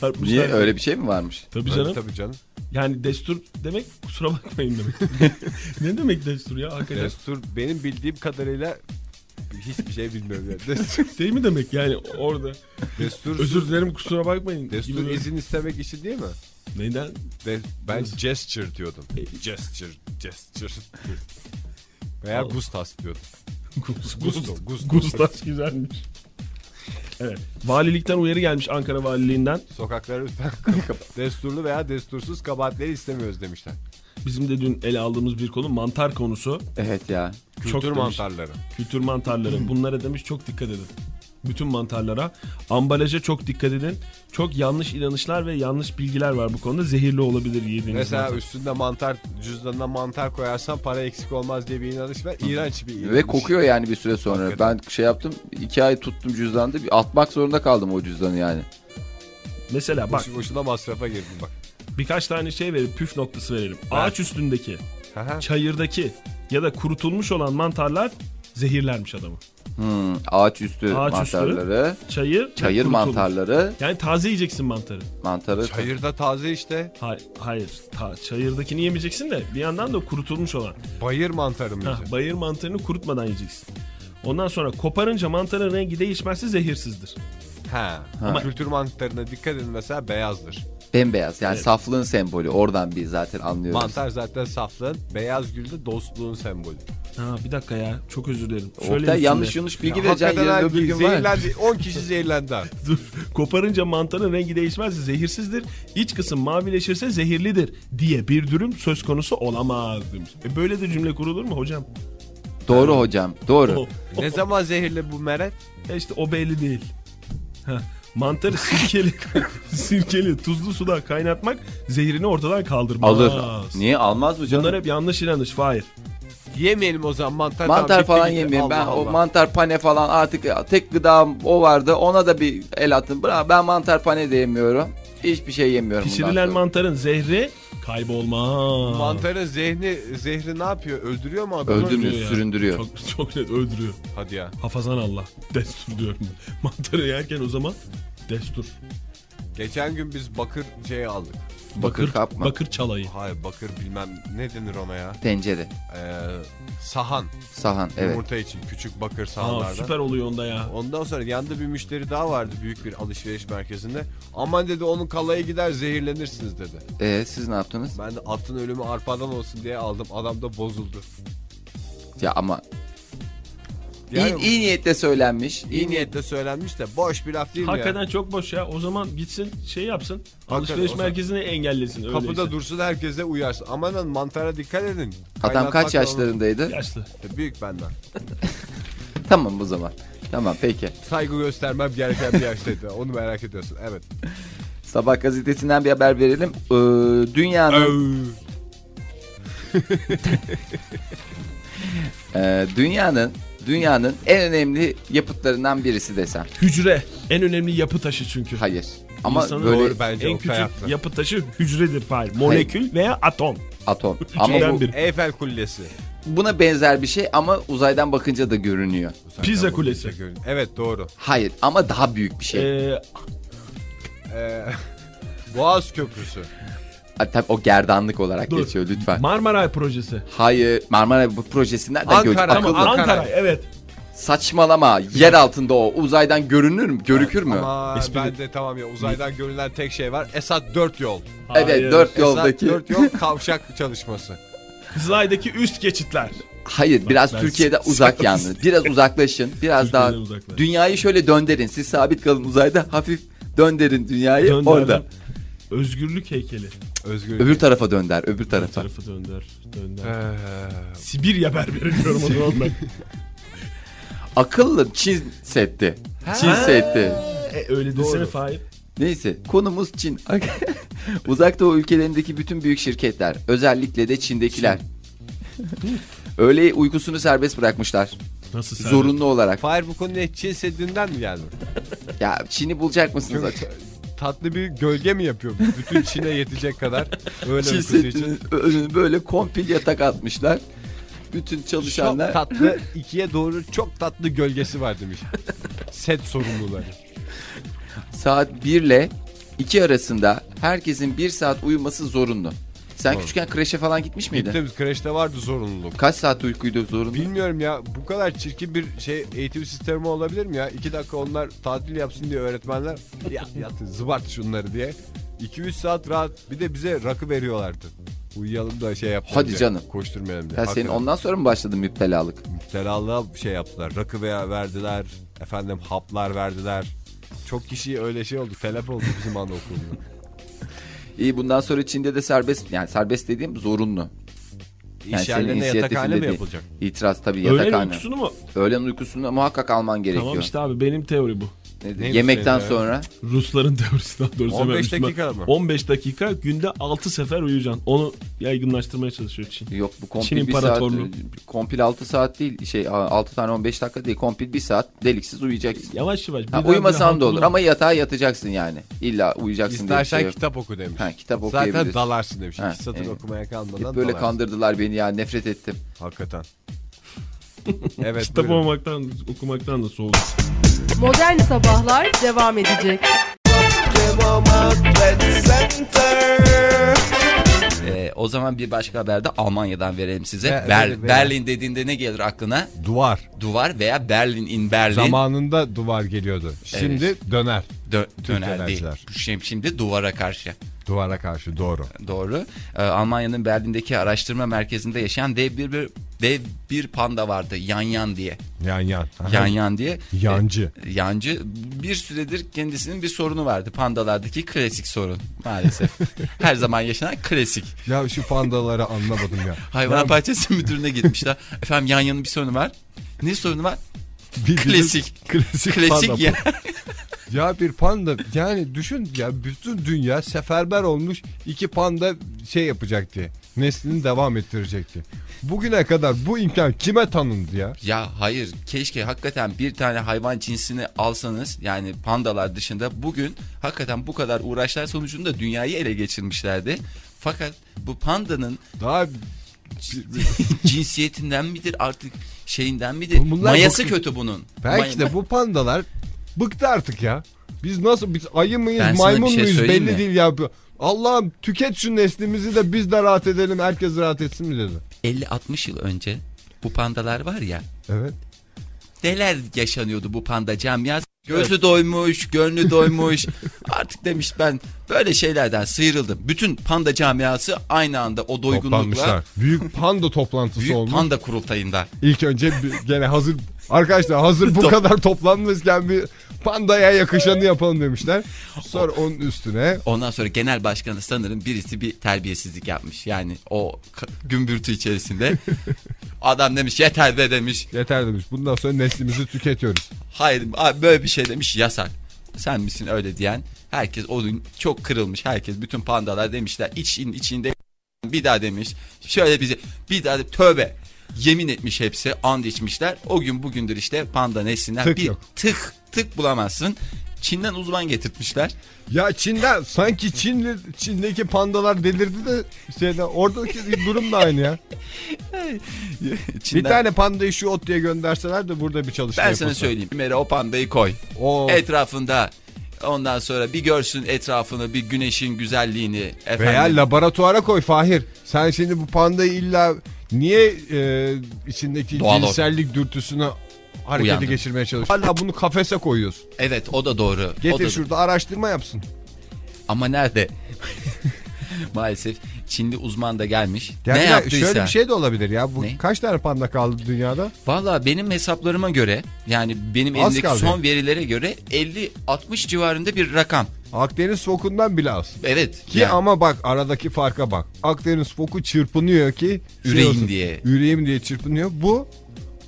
Speaker 5: Çarpmışlar.
Speaker 4: Niye öyle bir şey mi varmış?
Speaker 5: Tabii
Speaker 2: Tabii
Speaker 5: canım.
Speaker 2: Tabii canım.
Speaker 5: Yani destur demek kusura bakmayın demek. ne demek destur ya hakikaten?
Speaker 2: Destur benim bildiğim kadarıyla hiçbir şey bilmiyorum. Yani. Destur,
Speaker 5: Şey mi demek yani orada?
Speaker 2: destur,
Speaker 5: Özür dilerim kusura bakmayın.
Speaker 2: destur
Speaker 5: gibi böyle-
Speaker 2: izin istemek işi değil mi?
Speaker 5: Neyden?
Speaker 2: De- ben
Speaker 5: Buz.
Speaker 2: gesture diyordum.
Speaker 5: E,
Speaker 2: Gesture, gesture. Veya
Speaker 5: Allah.
Speaker 2: gustas diyordum.
Speaker 5: Gusto.
Speaker 2: Gusto, gusto.
Speaker 5: Gustaş güzelmiş. Evet. Valilikten uyarı gelmiş Ankara Valiliğinden.
Speaker 2: Sokakları lütfen desturlu veya destursuz kabahatleri istemiyoruz demişler.
Speaker 5: Bizim de dün ele aldığımız bir konu mantar konusu.
Speaker 4: Evet ya.
Speaker 2: Kültür
Speaker 5: Çok demiş.
Speaker 2: mantarları.
Speaker 5: Kültür mantarları. Bunlara demiş çok dikkat edin. Bütün mantarlara. Ambalaja çok dikkat edin. Çok yanlış inanışlar ve yanlış bilgiler var bu konuda. Zehirli olabilir yediğiniz
Speaker 2: Mesela
Speaker 5: mantar.
Speaker 2: üstünde mantar, cüzdanına mantar koyarsan para eksik olmaz diye bir inanış var. İğrenç bir inanış.
Speaker 4: Ve kokuyor yani bir süre sonra.
Speaker 2: Hakikaten.
Speaker 4: Ben şey yaptım. iki ay tuttum cüzdanı. Bir atmak zorunda kaldım o cüzdanı yani.
Speaker 5: Mesela bak
Speaker 2: Boşu boşuna masrafa girdim bak.
Speaker 5: birkaç tane şey verelim. Püf noktası verelim. Ağaç üstündeki,
Speaker 2: Aha.
Speaker 5: çayırdaki ya da kurutulmuş olan mantarlar zehirlermiş adamı.
Speaker 4: Hmm, ağaç üstü
Speaker 5: Ağaç üstü.
Speaker 4: mantarları.
Speaker 5: Çayır, ve
Speaker 4: Çayır
Speaker 5: kurutulmuş.
Speaker 4: mantarları.
Speaker 5: Yani taze yiyeceksin mantarı.
Speaker 4: Mantarı.
Speaker 2: Çayırda taze işte.
Speaker 5: Hayır, hayır. Ta, çayırdakini yemeyeceksin de bir yandan da kurutulmuş olan.
Speaker 2: Bayır mantarı mı
Speaker 5: Hah,
Speaker 2: yiyeceğim?
Speaker 5: bayır mantarını kurutmadan yiyeceksin. Ondan sonra koparınca mantarın rengi değişmezse zehirsizdir.
Speaker 2: Ha.
Speaker 4: Ha.
Speaker 2: Kültür mantarına dikkat edin mesela beyazdır.
Speaker 4: Bembeyaz. Yani saflığın sembolü. Oradan bir zaten anlıyoruz.
Speaker 2: Mantar zaten saflığın, beyaz gül de dostluğun sembolü.
Speaker 5: Ha bir dakika ya çok özür dilerim.
Speaker 4: Oktay
Speaker 5: bir şey.
Speaker 4: yanlış
Speaker 5: cümle.
Speaker 4: yanlış bilgi
Speaker 2: Ya
Speaker 4: vereceksin.
Speaker 2: hakikaten
Speaker 4: Yarın
Speaker 2: ha,
Speaker 4: öbür gün var.
Speaker 2: zehirlendi, 10 kişi zehirlendi. ha.
Speaker 5: Dur. Koparınca mantarın rengi değişmezse zehirsizdir. İç kısım mavileşirse zehirlidir diye bir durum söz konusu olamaz demiş. E böyle de cümle kurulur mu hocam?
Speaker 4: Doğru hocam. Doğru.
Speaker 5: O,
Speaker 2: ne zaman zehirli bu meret?
Speaker 5: e işte o belli değil. Ha, Mantarı sirkeli, sirkeli tuzlu suda kaynatmak zehirini ortadan kaldırmaz.
Speaker 4: Alır. Niye almaz mı canım?
Speaker 5: Bunlar hep yanlış inanış. Hayır.
Speaker 2: Yemeyelim o zaman mantar. tamam,
Speaker 4: Mantar
Speaker 2: bitti
Speaker 4: falan
Speaker 2: gitti.
Speaker 4: yemeyeyim. Ben
Speaker 2: Allah
Speaker 4: o
Speaker 2: Allah.
Speaker 4: mantar pane falan artık tek gıdam o vardı. Ona da bir el attım. Bra ben mantar pane de yemiyorum. Hiçbir şey yemiyorum. bundan
Speaker 5: Pişirilen
Speaker 4: sonra.
Speaker 5: mantarın zehri kaybolmaz.
Speaker 2: Mantarın zehri, zehri ne yapıyor? Öldürüyor mu adamı?
Speaker 4: Öldürmüyor,
Speaker 5: ya.
Speaker 4: süründürüyor.
Speaker 5: Çok, çok net öldürüyor.
Speaker 2: Hadi ya.
Speaker 5: Hafazan Allah. Destur diyorum ben. Mantarı yerken o zaman destur.
Speaker 2: Geçen gün biz bakır şey aldık.
Speaker 4: Bakır, kapma.
Speaker 5: Bakır çalayı.
Speaker 2: Hayır bakır bilmem ne denir ona ya.
Speaker 4: Tencere,
Speaker 2: Ee, sahan.
Speaker 4: sahan. Evet.
Speaker 2: Yumurta için küçük bakır sahanlardan.
Speaker 5: Aa, süper oluyor onda ya.
Speaker 2: Ondan sonra yanında bir müşteri daha vardı büyük bir alışveriş merkezinde. Aman dedi onun kalaya gider zehirlenirsiniz dedi.
Speaker 4: Ee, siz ne yaptınız?
Speaker 2: Ben de atın ölümü arpadan olsun diye aldım. Adam da bozuldu.
Speaker 4: Ya ama
Speaker 2: Yani
Speaker 4: iyi, iyi niyetle söylenmiş.
Speaker 2: iyi niyetle söylenmiş de boş bir laf değil mi
Speaker 5: Hakikaten
Speaker 2: ya?
Speaker 5: çok boş ya. O zaman gitsin şey yapsın.
Speaker 2: o
Speaker 5: alışveriş
Speaker 2: zaman-
Speaker 5: merkezini engellesin. Öyleyse.
Speaker 2: Kapıda dursun herkese uyarsın. Aman lan mantara dikkat edin.
Speaker 4: Adam kaç
Speaker 2: Kaynatmak
Speaker 4: yaşlarındaydı?
Speaker 5: Yaşlı.
Speaker 2: lazım. Büyük benden.
Speaker 4: Tamam o zaman. Tamam peki.
Speaker 2: Saygı göstermem gereken bir yaştaydı. Onu merak ediyorsun. Evet.
Speaker 4: Sabah gazetesinden bir haber verelim. Ee, dünyanın e, dünyanın dünyanın en önemli yapıtlarından birisi desem.
Speaker 5: Hücre. En önemli yapı taşı çünkü.
Speaker 4: Hayır. Ama
Speaker 5: İnsanın
Speaker 4: böyle
Speaker 2: Doğru bence
Speaker 5: en
Speaker 2: Oktay
Speaker 5: küçük
Speaker 2: haklı.
Speaker 5: yapı taşı hücredir. Hayır. Molekül veya atom.
Speaker 4: atom. Ama bu,
Speaker 5: bir.
Speaker 2: Eyfel Kulesi.
Speaker 4: buna benzer bir şey ama uzaydan bakınca da görünüyor.
Speaker 5: Pizza kulesi.
Speaker 2: Evet doğru.
Speaker 4: Hayır ama daha büyük bir şey.
Speaker 5: Ee,
Speaker 2: Ee, Boğaz Köprüsü.
Speaker 1: Abi tabii o gerdanlık olarak
Speaker 5: Dur.
Speaker 1: geçiyor lütfen.
Speaker 5: Marmaray projesi.
Speaker 1: Hayır Marmara bu projesinden de
Speaker 2: Ankara,
Speaker 1: göç.
Speaker 2: tamam,
Speaker 1: Akıllı.
Speaker 2: Ankara.
Speaker 5: Ankaray evet.
Speaker 1: Saçmalama. Yer altında o. Uzaydan görünür mü? Görükür mü?
Speaker 2: Ama
Speaker 5: Espri-
Speaker 2: ben de tamam ya uzaydan görülen tek şey var. Esat 4 yol.
Speaker 1: Evet
Speaker 5: Hayır.
Speaker 1: dört
Speaker 2: Esat
Speaker 1: yoldaki.
Speaker 2: 4 yol kavşak çalışması.
Speaker 5: Kızılay'daki üst geçitler.
Speaker 1: Hayır biraz
Speaker 5: ben
Speaker 1: Türkiye'de
Speaker 5: s-
Speaker 1: uzak
Speaker 5: sapsız-
Speaker 1: yalnız. Biraz uzaklaşın. Biraz daha
Speaker 5: Türkiye'den uzaklaş.
Speaker 1: dünyayı şöyle dönderin. Siz sabit kalın uzayda hafif dönderin dünyayı
Speaker 5: Dönderdim.
Speaker 1: orada.
Speaker 5: Özgürlük heykeli.
Speaker 2: Özgür.
Speaker 1: Öbür tarafa dönder, öbür
Speaker 5: Bu
Speaker 1: tarafa.
Speaker 5: Tarafı dönder. Dönder.
Speaker 2: Ee,
Speaker 5: Sibirya berberi diyorum o zaman ben.
Speaker 1: Akıllı Çin setti. Çin setti.
Speaker 5: E, öyle desene Fahir.
Speaker 1: Neyse konumuz Çin. Uzak Doğu ülkelerindeki bütün büyük şirketler, özellikle de Çin'dekiler. Öğle uykusunu serbest bırakmışlar.
Speaker 5: Nasıl sen?
Speaker 1: Zorunlu olarak.
Speaker 2: Fahir bu konuya Çin Seddi'nden mi geldi?
Speaker 1: Ya Çin'i bulacak mısınız?
Speaker 2: Çok tatlı bir gölge mi yapıyor? Bütün Çin'e yetecek kadar öyle
Speaker 1: Çin
Speaker 2: uykusu için.
Speaker 1: Seddi'nin önüne böyle kompil yatak atmışlar. Bütün
Speaker 2: Çok
Speaker 1: çalışanlar.
Speaker 2: tatlı ikiye doğru çok tatlı gölgesi var demiş. Set sorumluları.
Speaker 1: saat 1 ile 2 arasında herkesin 1 saat uyuması zorunlu. Sen küçükken kreşe falan gitmiş miydin?
Speaker 2: Gittiğimiz kreşte vardı zorunluluk.
Speaker 1: Kaç saat uykuydu zorunlu?
Speaker 2: Bilmiyorum ya bu kadar çirkin bir şey eğitim sistemi olabilir mi ya? İki dakika onlar tatil yapsın diye öğretmenler ya yatın zıbart şunları diye. 2-3 saat rahat bir de bize rakı veriyorlardı. Uyuyalım da şey yapalım
Speaker 1: Hadi
Speaker 2: diye,
Speaker 1: canım.
Speaker 2: Koşturmayalım diye.
Speaker 1: Ha, senin
Speaker 2: Hakikaten.
Speaker 1: ondan sonra mı başladı müptelalık?
Speaker 2: Müptelalığa şey yaptılar. Rakı veya verdiler. Efendim haplar verdiler. Çok kişi öyle şey oldu. Telef oldu bizim anaokulunda.
Speaker 1: İyi bundan sonra Çin'de de serbest yani serbest dediğim zorunlu. Yani
Speaker 2: İş
Speaker 1: senin
Speaker 2: yerlerine yatakhane
Speaker 1: inisiyatifinde
Speaker 2: mi
Speaker 1: değil.
Speaker 2: yapılacak?
Speaker 1: İtiraz tabii
Speaker 5: Öğlen
Speaker 1: yatakhane.
Speaker 5: uykusunu mu?
Speaker 1: Öğlen uykusunu muhakkak alman gerekiyor.
Speaker 5: Tamam işte abi benim teori bu.
Speaker 1: Nedir?
Speaker 2: Neydi
Speaker 1: Yemekten
Speaker 2: senin,
Speaker 1: sonra
Speaker 5: Rusların teorisi daha doğrusu. hemen
Speaker 2: 15
Speaker 5: üstüme-
Speaker 2: dakika mı?
Speaker 5: 15 dakika günde 6 sefer uyuyacaksın. Onu yaygınlaştırmaya çalışıyor Çin.
Speaker 1: yok bu
Speaker 5: Çin
Speaker 1: kompil bir saat
Speaker 5: imparatorluğu.
Speaker 1: kompil 6 saat değil şey 6 tane 15 dakika değil kompil 1 saat deliksiz uyuyacaksın.
Speaker 5: Yavaş yavaş.
Speaker 1: Ha,
Speaker 5: birden
Speaker 1: uyumasan
Speaker 5: bire
Speaker 1: da olur
Speaker 5: halkına-
Speaker 1: ama yatağa yatacaksın yani. İlla uyuyacaksın diye bir şey
Speaker 2: İstersen
Speaker 1: yok.
Speaker 2: kitap oku demiş.
Speaker 1: Ha, kitap
Speaker 2: Zaten
Speaker 1: okuyabilirsin.
Speaker 2: dalarsın demiş.
Speaker 1: Ha,
Speaker 2: İki satır
Speaker 1: evet.
Speaker 2: okumaya kalmadan
Speaker 1: Hep böyle
Speaker 2: dalarsın.
Speaker 1: kandırdılar beni ya nefret ettim.
Speaker 2: Hakikaten. evet
Speaker 5: Kitap
Speaker 2: buyurun.
Speaker 5: okumaktan, okumaktan da soğudum.
Speaker 3: Modern Sabahlar devam edecek.
Speaker 1: Ee, o zaman bir başka haberde Almanya'dan verelim size.
Speaker 2: Ver-
Speaker 1: Ber-
Speaker 2: verin, verin.
Speaker 1: Berlin dediğinde ne gelir aklına?
Speaker 2: Duvar.
Speaker 1: Duvar veya Berlin in Berlin
Speaker 2: Zamanında duvar geliyordu. Şimdi döner.
Speaker 1: dö- döner değil.
Speaker 2: enerjiler.
Speaker 1: Bu şey- Şimdi duvara karşı.
Speaker 2: Duvara karşı doğru.
Speaker 1: Doğru. Ee, Almanya'nın Berlin'deki araştırma merkezinde yaşayan dev bir, bir dev bir panda vardı. Yan yan diye.
Speaker 2: Yan yan.
Speaker 1: Yan yan diye.
Speaker 2: Yancı.
Speaker 1: Ee, yancı bir süredir kendisinin bir sorunu vardı. Pandalardaki klasik sorun maalesef. Her zaman yaşanan klasik.
Speaker 2: Ya şu pandaları anlamadım ya.
Speaker 1: Hayvan bahçesi müdürüne gitmişler. Efendim yan yanın bir sorunu var. Ne sorunu var? Klasik.
Speaker 2: Klasik,
Speaker 1: Klasik
Speaker 2: panda
Speaker 1: ya.
Speaker 2: Ya bir panda yani düşün ya bütün dünya seferber olmuş iki panda şey yapacaktı. Neslini devam ettirecekti. Bugüne kadar bu imkan kime tanındı ya?
Speaker 1: Ya hayır keşke hakikaten bir tane hayvan cinsini alsanız yani pandalar dışında bugün hakikaten bu kadar uğraşlar sonucunda dünyayı ele geçirmişlerdi. Fakat bu pandanın
Speaker 2: Daha
Speaker 1: cinsiyetinden midir artık şeyinden midir?
Speaker 2: Bunlar
Speaker 1: Mayası
Speaker 2: bu-
Speaker 1: kötü bunun.
Speaker 2: belki
Speaker 1: May-
Speaker 2: de bu pandalar bıktı artık ya. Biz nasıl biz ayı mıyız
Speaker 1: Ben sana
Speaker 2: maymun
Speaker 1: bir şey
Speaker 2: muyuz
Speaker 1: söyleyeyim
Speaker 2: belli
Speaker 1: mi?
Speaker 2: değil ya. Allah'ım tüket şu neslimizi de biz de rahat edelim herkes rahat etsin mi dedi.
Speaker 1: 50-60 yıl önce bu pandalar var ya
Speaker 2: Evet.
Speaker 1: neler yaşanıyordu bu panda camia. Gözü doymuş, gönlü doymuş. Artık demiş ben böyle şeylerden sıyrıldım. Bütün panda camiası aynı anda o doygunlukla
Speaker 2: Toplanmışlar. Büyük panda toplantısı
Speaker 1: büyük
Speaker 2: olmuş.
Speaker 1: panda kurultayında.
Speaker 2: İlk önce bir- gene hazır arkadaşlar hazır bu kadar toplanmışken bir pandaya yakışanı yapalım demişler. Sonra onun üstüne
Speaker 1: Ondan sonra genel başkanı sanırım birisi bir terbiyesizlik yapmış. Yani o k- gümbürtü içerisinde adam demiş yeter be demiş.
Speaker 2: yeter demiş. Bundan sonra neslimizi tüketiyoruz.
Speaker 1: Hayır abi böyle bir şey demiş yasak. Sen misin öyle diyen? Herkes o gün çok kırılmış. Herkes bütün pandalar demişler için içinde bir daha demiş. Şöyle bize bir daha de- tövbe. Yemin etmiş hepsi and içmişler. O gün bugündür işte panda neslinden
Speaker 2: Tık
Speaker 1: bir
Speaker 2: yok.
Speaker 1: tık tık bulamazsın. Çin'den uzman getirtmişler.
Speaker 2: Ya Çin'den sanki Çinli, Çin'deki pandalar delirdi de şeyden oradaki durum da aynı ya.
Speaker 1: Çin'den-
Speaker 2: Bir tane pandayı şu ot diye gönderseler de burada bir çalışma
Speaker 1: ben sana
Speaker 2: yapılsa. Oh.
Speaker 1: söyleyeyim. Bir kere o pandayı koy.
Speaker 2: Oo,
Speaker 1: Etrafında Ondan sonra bir görsün etrafını, bir güneşin güzelliğini.
Speaker 2: Veya
Speaker 1: Efendim.
Speaker 2: laboratuvara koy Fahir. Sen şimdi bu pandayı illa niye e, içindeki
Speaker 1: Doğal
Speaker 2: cinsellik dürtüsünü harekete
Speaker 1: Uyandım.
Speaker 2: geçirmeye çalışıyorsun? Hala bunu kafese koyuyorsun.
Speaker 1: Evet o da doğru. o da
Speaker 2: Getir
Speaker 1: doğru.
Speaker 2: şurada araştırma yapsın.
Speaker 1: Ama nerede? Maalesef Çinli uzman da gelmiş.
Speaker 2: Yani
Speaker 1: ne
Speaker 2: ya
Speaker 1: yaptıysa.
Speaker 2: Şöyle bir şey de olabilir ya. Bu
Speaker 1: Ne?
Speaker 2: kaç tane panda kaldı dünyada?
Speaker 1: Valla benim hesaplarıma göre yani benim
Speaker 2: Az
Speaker 1: elimdeki
Speaker 2: kaldı.
Speaker 1: son verilere göre 50-60 civarında bir rakam.
Speaker 2: Akdeniz fokundan bile az.
Speaker 1: Evet.
Speaker 2: Ki
Speaker 1: yani
Speaker 2: ama bak aradaki farka bak. Akdeniz foku çırpınıyor ki şey
Speaker 1: Üreyim
Speaker 2: olsun.
Speaker 1: diye.
Speaker 2: Üreyim diye çırpınıyor. Bu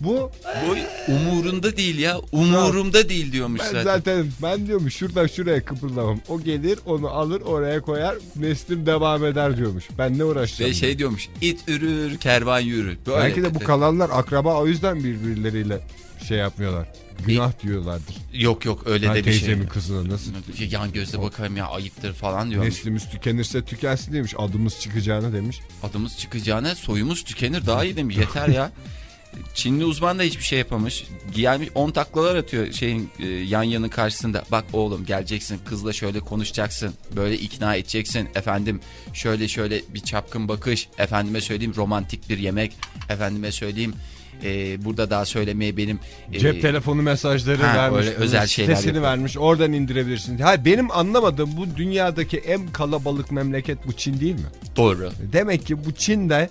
Speaker 2: bu
Speaker 1: bu umurunda değil ya. Umurumda değil diyormuş
Speaker 2: ben
Speaker 1: zaten.
Speaker 2: zaten. ben diyormuş şuradan şuraya kıpırdamam. O gelir onu alır oraya koyar neslim devam eder diyormuş. Ben ne uğraşacağım?
Speaker 1: Ve şey diyormuş it ürür kervan yürür. Böyle
Speaker 2: Belki de bu kalanlar akraba o yüzden birbirleriyle şey yapmıyorlar. Günah diyorlardır.
Speaker 1: Yok yok öyle
Speaker 2: Ben
Speaker 1: de bir şey.
Speaker 2: teyzemin kızına nasıl
Speaker 1: Ya Yan gözle bakayım ya ayıptır falan diyormuş.
Speaker 2: neslimiz tükenirse tükensin demiş. Adımız çıkacağına demiş.
Speaker 1: Adımız çıkacağına soyumuz tükenir daha iyi değil mi? Yeter ya. Çinli uzman da hiçbir şey yapamış. Gelmiş 10 taklalar atıyor şeyin e, yan yanın karşısında. Bak oğlum geleceksin kızla şöyle konuşacaksın. Böyle ikna edeceksin. Efendim şöyle şöyle bir çapkın bakış. Efendime söyleyeyim romantik bir yemek. Efendime söyleyeyim e, burada daha söylemeye benim... e,
Speaker 2: Cep telefonu mesajları
Speaker 1: Ha,
Speaker 2: vermiş.
Speaker 1: öyle özel şeyler
Speaker 2: Sitesini
Speaker 1: yapıyor.
Speaker 2: vermiş. Oradan indirebilirsiniz. Ha, benim anlamadığım bu dünyadaki en kalabalık memleket bu Çin değil mi?
Speaker 1: Doğru.
Speaker 2: Demek ki bu Çin'de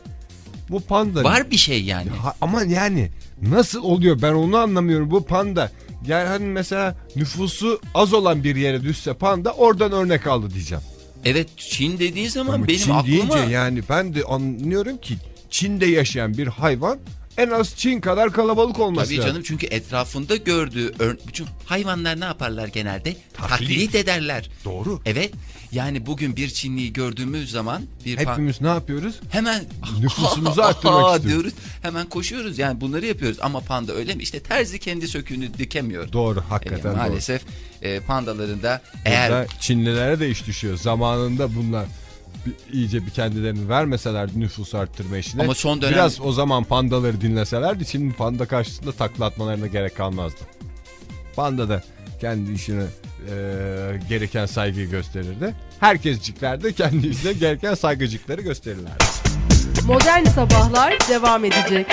Speaker 2: bu panda.
Speaker 1: Var bir şey yani.
Speaker 2: Ha, ama yani nasıl oluyor ben onu anlamıyorum bu panda. Yani hani mesela nüfusu az olan bir yere düşse panda oradan örnek aldı diyeceğim.
Speaker 1: Evet Çin dediğin zaman
Speaker 2: Ama
Speaker 1: benim
Speaker 2: Çin
Speaker 1: aklıma...
Speaker 2: deyince yani ben de anlıyorum ki Çin'de yaşayan bir hayvan en az Çin kadar kalabalık olması
Speaker 1: Tabii
Speaker 2: lazım.
Speaker 1: canım çünkü etrafında gördüğü ör- bütün hayvanlar ne yaparlar genelde? Taklit, ederler.
Speaker 2: Doğru.
Speaker 1: Evet. Yani bugün bir Çinliyi gördüğümüz zaman bir pa-
Speaker 2: Hepimiz ne yapıyoruz?
Speaker 1: hemen
Speaker 2: Nüfusumuzu arttırmak
Speaker 1: Aa,
Speaker 2: istiyoruz.
Speaker 1: diyoruz. Hemen koşuyoruz. Yani bunları yapıyoruz ama panda öyle mi? İşte terzi kendi söküğünü dikemiyor.
Speaker 2: Doğru
Speaker 1: E,
Speaker 2: hakikaten doğru.
Speaker 1: maalesef e, pandaların da eğer
Speaker 2: Burada Çinlilere de iş düşüyor. Zamanında bunlar bir- iyice bir kendilerini vermeseler nüfus arttırma işine.
Speaker 1: Ama son dönem-
Speaker 2: Biraz o zaman pandaları dinleselerdi Çin'in panda karşısında takla atmalarına gerek kalmazdı. Panda da kendi işine e, gereken saygıyı gösterirdi. Herkescikler de kendi işine gereken saygıcıkları gösterirlerdi.
Speaker 3: Modern Sabahlar devam edecek.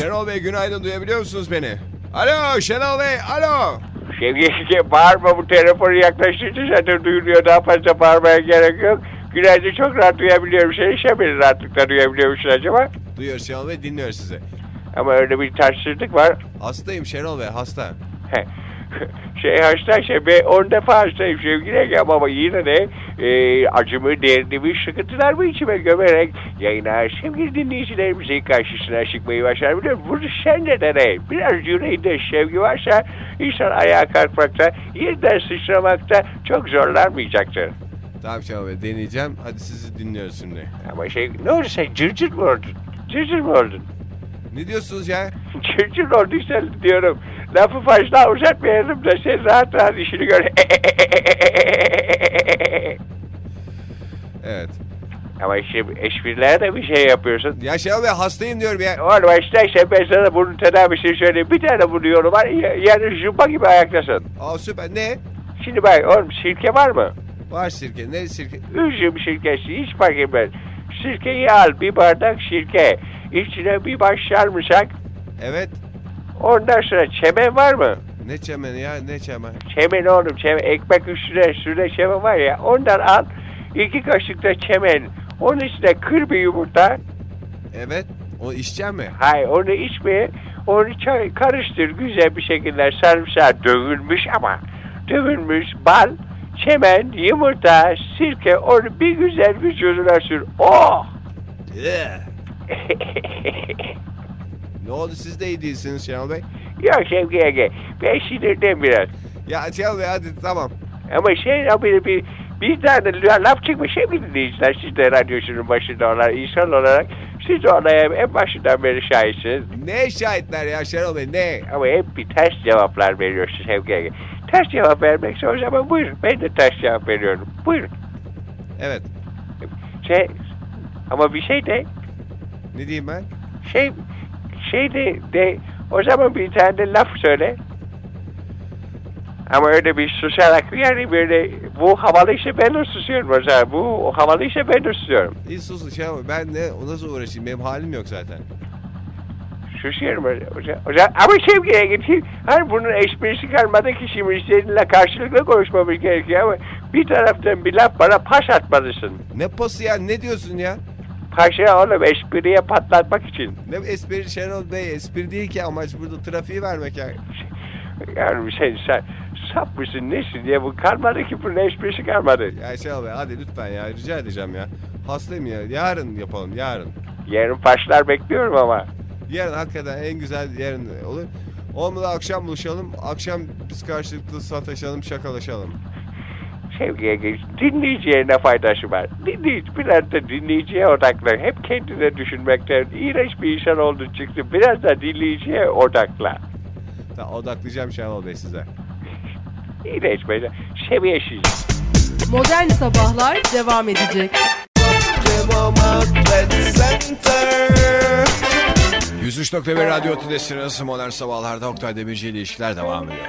Speaker 2: Şenol Bey günaydın duyabiliyor musunuz beni? Alo Şenol Bey alo.
Speaker 6: Sevgili bağırma bu telefonu yaklaştıkça zaten duyuluyor. Daha fazla bağırmaya gerek yok. Günaydın çok rahat duyabiliyorum seni. Sen beni rahatlıkla duyabiliyor musun acaba?
Speaker 2: Duyuyor Şenol Bey dinliyor sizi.
Speaker 6: Ama öyle bir tatsızlık var.
Speaker 2: Hastayım Şenol Bey hasta.
Speaker 6: şey hasta şey ben 10 defa hastayım sevgili Ege ama yine de e, acımı, derdimi, sıkıntılarımı içime gömerek yayına sevgili dinleyicilerimizin karşısına çıkmayı başarabiliyorum. Bunu sen de deney. Biraz yüreğinde sevgi varsa insan ayağa kalkmakta, yerden sıçramakta çok zorlanmayacaktır.
Speaker 2: Tamam Şenol Bey deneyeceğim. Hadi sizi dinliyoruz şimdi.
Speaker 6: Ama şey ne oldu sen cırcır mı oldun? Cırcır mı oldun?
Speaker 2: Ne diyorsunuz ya?
Speaker 6: Cırcır olduysa diyorum. Lafı fazla uzatmayalım da sen rahat rahat işini gör.
Speaker 2: Evet.
Speaker 6: Ama şimdi espriler de bir şey yapıyorsun.
Speaker 2: Ya Şenol Bey hastayım diyorum ya.
Speaker 6: Oğlum işte işte ben sana bunun tedavisini söyleyeyim. Bir tane vuruyorum var. ya- Yani jumba gibi ayaktasın.
Speaker 2: Aa süper. Ne?
Speaker 6: Şimdi bak oğlum sirke var mı?
Speaker 2: Var sirke. Ne sirke?
Speaker 6: Üzüm sirkesi iç bakayım ben. Sirkeyi al bir bardak sirke. İçine bir baş sarımsak.
Speaker 2: Evet.
Speaker 6: Ondan sonra çemen var mı?
Speaker 2: Ne çemeni ya? Ne çemen?
Speaker 6: Çemen oğlum çemen. Ekmek üstüne üstüne çemen var ya. Ondan al. iki kaşık da çemen. Onun içine kır bir yumurta.
Speaker 2: Evet. O içeceğim mi?
Speaker 6: Hayır onu içme. Onu çay- karıştır güzel bir şekilde sarımsak dövülmüş ama dövülmüş bal, çemen, yumurta, sirke onu bir güzel vücuduna sür. Oh!
Speaker 2: Ne oldu siz de iyi değilsiniz Şenol Bey.
Speaker 6: Yok Şevki Ege ben sinirden biraz.
Speaker 2: Ya Şenol Bey hadi tamam.
Speaker 6: Ama şey ya bir, bir, bir tane la- laf çıkmış hep dinleyiciler siz de radyosunun başında olan insan olarak siz de olaya en başından beri şahitsiniz.
Speaker 2: Ne şahitler ya Şenol Bey ne?
Speaker 6: Ama hep bir ters cevaplar veriyorsun Sevgi Ege. Ters cevap vermekse o zaman buyurun. Ben de ters cevap veriyorum. Buyurun.
Speaker 2: Evet.
Speaker 6: Şey, ama bir şey de
Speaker 2: Ne diyeyim ben?
Speaker 6: şey şey de, de O zaman bir tane de laf söyle. Ama öyle bir susarak yani böyle bu havalıysa ben de susuyorum o zaman. Bu havalıysa ben de susuyorum.
Speaker 2: İyi sus şey ama ben ne o nasıl uğraşayım benim halim yok zaten.
Speaker 6: Susuyorum o- o zaman. O zaman- Ama sevgiye gideyim. Hani bunun esprisi kalmadı ki şimdi seninle karşılıklı konuşmamız gerekiyor ama bir taraftan bir laf bana pas atmalısın.
Speaker 2: Ne pası ya ne diyorsun ya?
Speaker 6: Paşa oğlum espriye patlatmak için.
Speaker 2: Ne espri Şenol Bey espri değil ki amaç burada trafiği vermek ya.
Speaker 6: Yani sen, sen sap mısın nesin diye bu kalmadı ki bunun esprisi kalmadı.
Speaker 2: Ya Şenol Bey hadi lütfen ya rica edeceğim ya. Hastayım ya yarın yapalım yarın.
Speaker 6: Yarın paşlar bekliyorum ama.
Speaker 2: Yarın hakikaten en güzel yarın olur. Olmadı akşam buluşalım. Akşam biz karşılıklı sataşalım şakalaşalım.
Speaker 6: Sevgiye geç. Dinleyiciye ne faydası var? Dinleyici, biraz da dinleyiciye odaklan. Hep kendine düşünmekten iğrenç bir insan oldu çıktı. Biraz da dinleyiciye odaklan.
Speaker 2: Tamam, odaklayacağım Şenol Bey size.
Speaker 6: İğrenç böyle. Seviyesiz.
Speaker 3: Modern Sabahlar devam edecek.
Speaker 2: Center. 103.1 Radyo Tülesi'niz Modern Sabahlar'da Oktay Demirci ile ilişkiler devam ediyor.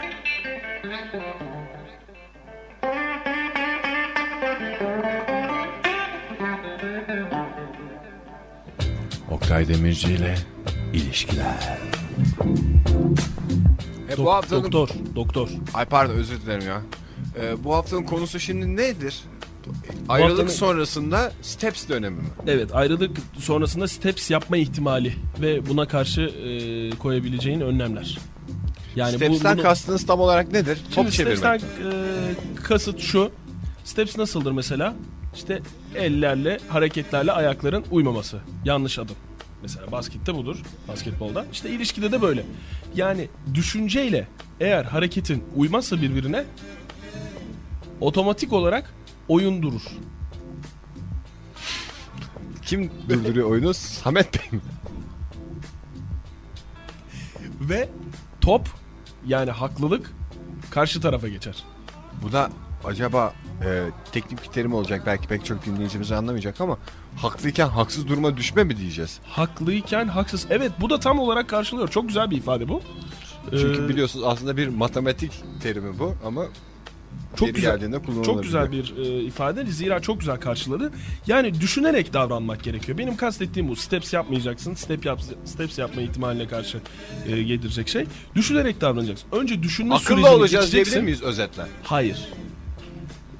Speaker 2: Oktay Demirci ile ilişkiler. E, bu
Speaker 5: Dok-
Speaker 2: haftanın
Speaker 5: doktor, doktor.
Speaker 2: Ay pardon özür dilerim ya. Ee, bu haftanın konusu şimdi nedir? Ayrılık
Speaker 5: haftanın-
Speaker 2: sonrasında steps dönemi mi?
Speaker 5: Evet ayrılık sonrasında steps yapma ihtimali ve buna karşı e, koyabileceğin önlemler. Yani
Speaker 2: Steps'ten
Speaker 5: bunu-
Speaker 2: kastınız tam olarak nedir? Top
Speaker 5: Şimdi
Speaker 2: çevirmek.
Speaker 5: Steps'ten e, kasıt şu. Steps nasıldır mesela? İşte ellerle, hareketlerle ayakların uymaması. Yanlış adım. Mesela baskette budur. Basketbolda. İşte ilişkide de böyle. Yani düşünceyle eğer hareketin uymazsa birbirine otomatik olarak oyun durur.
Speaker 2: Kim durduruyor oyunu? Samet Bey mi?
Speaker 5: Ve top yani haklılık karşı tarafa geçer.
Speaker 2: Bu da acaba e, teknik bir terim olacak. Belki pek çok dinleyicimiz anlamayacak ama haklıyken haksız duruma düşme mi diyeceğiz?
Speaker 5: Haklıyken haksız. Evet bu da tam olarak karşılıyor. Çok güzel bir ifade bu.
Speaker 2: Çünkü
Speaker 5: Ee,
Speaker 2: biliyorsunuz aslında bir matematik terimi bu ama
Speaker 5: çok
Speaker 2: yeri
Speaker 5: güzel.
Speaker 2: geldiğinde kullanılabilir.
Speaker 5: Çok güzel bir e, ifade. Zira çok güzel karşıladı. Yani düşünerek davranmak gerekiyor. Benim kastettiğim bu. Steps yapmayacaksın. Step yap, steps yapma ihtimaline karşı e, getirecek şey. Düşünerek davranacaksın. Önce düşünme
Speaker 2: Akıllı
Speaker 5: sürecini
Speaker 2: olacağız diyebilir
Speaker 5: geçeceksin.
Speaker 2: miyiz özetle?
Speaker 5: Hayır.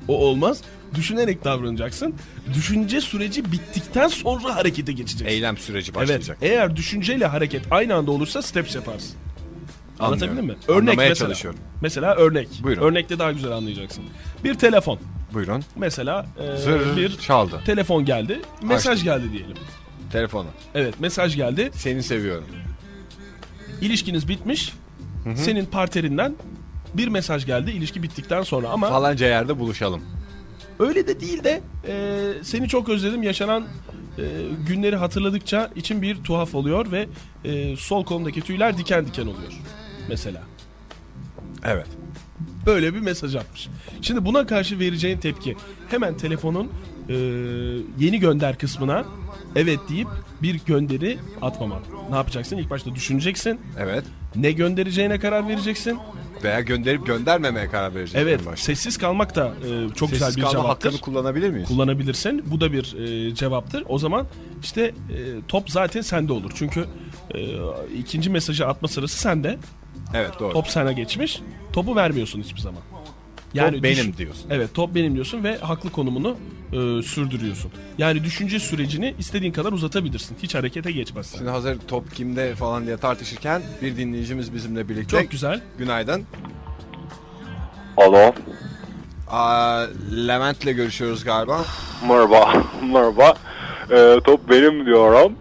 Speaker 5: O olmaz. Düşünerek davranacaksın. Düşünce süreci bittikten sonra harekete geçeceksin.
Speaker 2: Eylem süreci
Speaker 5: Evet.
Speaker 2: başlayacak.
Speaker 5: Eğer düşünceyle hareket aynı anda olursa steps yaparsın. Anlatabildim mi?
Speaker 2: Anlıyorum.
Speaker 5: Örnek
Speaker 2: Anlamaya
Speaker 5: mesela.
Speaker 2: çalışıyorum.
Speaker 5: Mesela örnek.
Speaker 2: Buyurun.
Speaker 5: Örnekte daha güzel anlayacaksın. Bir telefon.
Speaker 2: Buyurun.
Speaker 5: Mesela e,
Speaker 2: Zır
Speaker 5: bir
Speaker 2: çaldı.
Speaker 5: telefon geldi. Mesaj
Speaker 2: Açtım.
Speaker 5: geldi diyelim.
Speaker 2: Telefonu.
Speaker 5: Evet mesaj geldi.
Speaker 2: Seni seviyorum.
Speaker 5: İlişkiniz bitmiş. Senin partnerinden bir mesaj geldi ilişki bittikten sonra ama
Speaker 2: Falanca yerde buluşalım.
Speaker 5: öyle de değil de e, seni çok özledim yaşanan e, günleri hatırladıkça için bir tuhaf oluyor ve e, sol kolumdaki tüyler diken diken oluyor mesela.
Speaker 2: Evet.
Speaker 5: Böyle bir mesaj atmış. Şimdi buna karşı vereceğin tepki hemen telefonun e, yeni gönder kısmına evet deyip bir gönderi atmaman. Ne yapacaksın? İlk başta düşüneceksin.
Speaker 2: Evet.
Speaker 5: Ne göndereceğine karar vereceksin.
Speaker 2: Veya gönderip göndermemeye karar vereceğiz.
Speaker 5: Evet,
Speaker 2: en başta.
Speaker 5: sessiz kalmak da e, çok
Speaker 2: Sessiz
Speaker 5: güzel bir
Speaker 2: kalma hakkını
Speaker 5: cevaptır.
Speaker 2: kullanabilir miyiz?
Speaker 5: Kullanabilirsin. Bu da bir e, cevaptır. O zaman işte e, top zaten sende olur. Çünkü e, ikinci mesajı atma sırası sende.
Speaker 2: evet doğru.
Speaker 5: Top sana geçmiş. Topu vermiyorsun hiçbir zaman.
Speaker 2: Top
Speaker 5: düş-
Speaker 2: benim diyorsun.
Speaker 5: Evet top benim diyorsun ve haklı konumunu e, sürdürüyorsun. Yani düşünce sürecini istediğin kadar uzatabilirsin. Hiç harekete geçmezsen.
Speaker 2: Şimdi hazır top kimde falan diye tartışırken bir dinleyicimiz bizimle birlikte.
Speaker 5: Çok güzel.
Speaker 2: Günaydın.
Speaker 6: Alo.
Speaker 2: Aa, Levent'le görüşüyoruz galiba.
Speaker 6: Merhaba. Merhaba. Ee, top benim diyorum.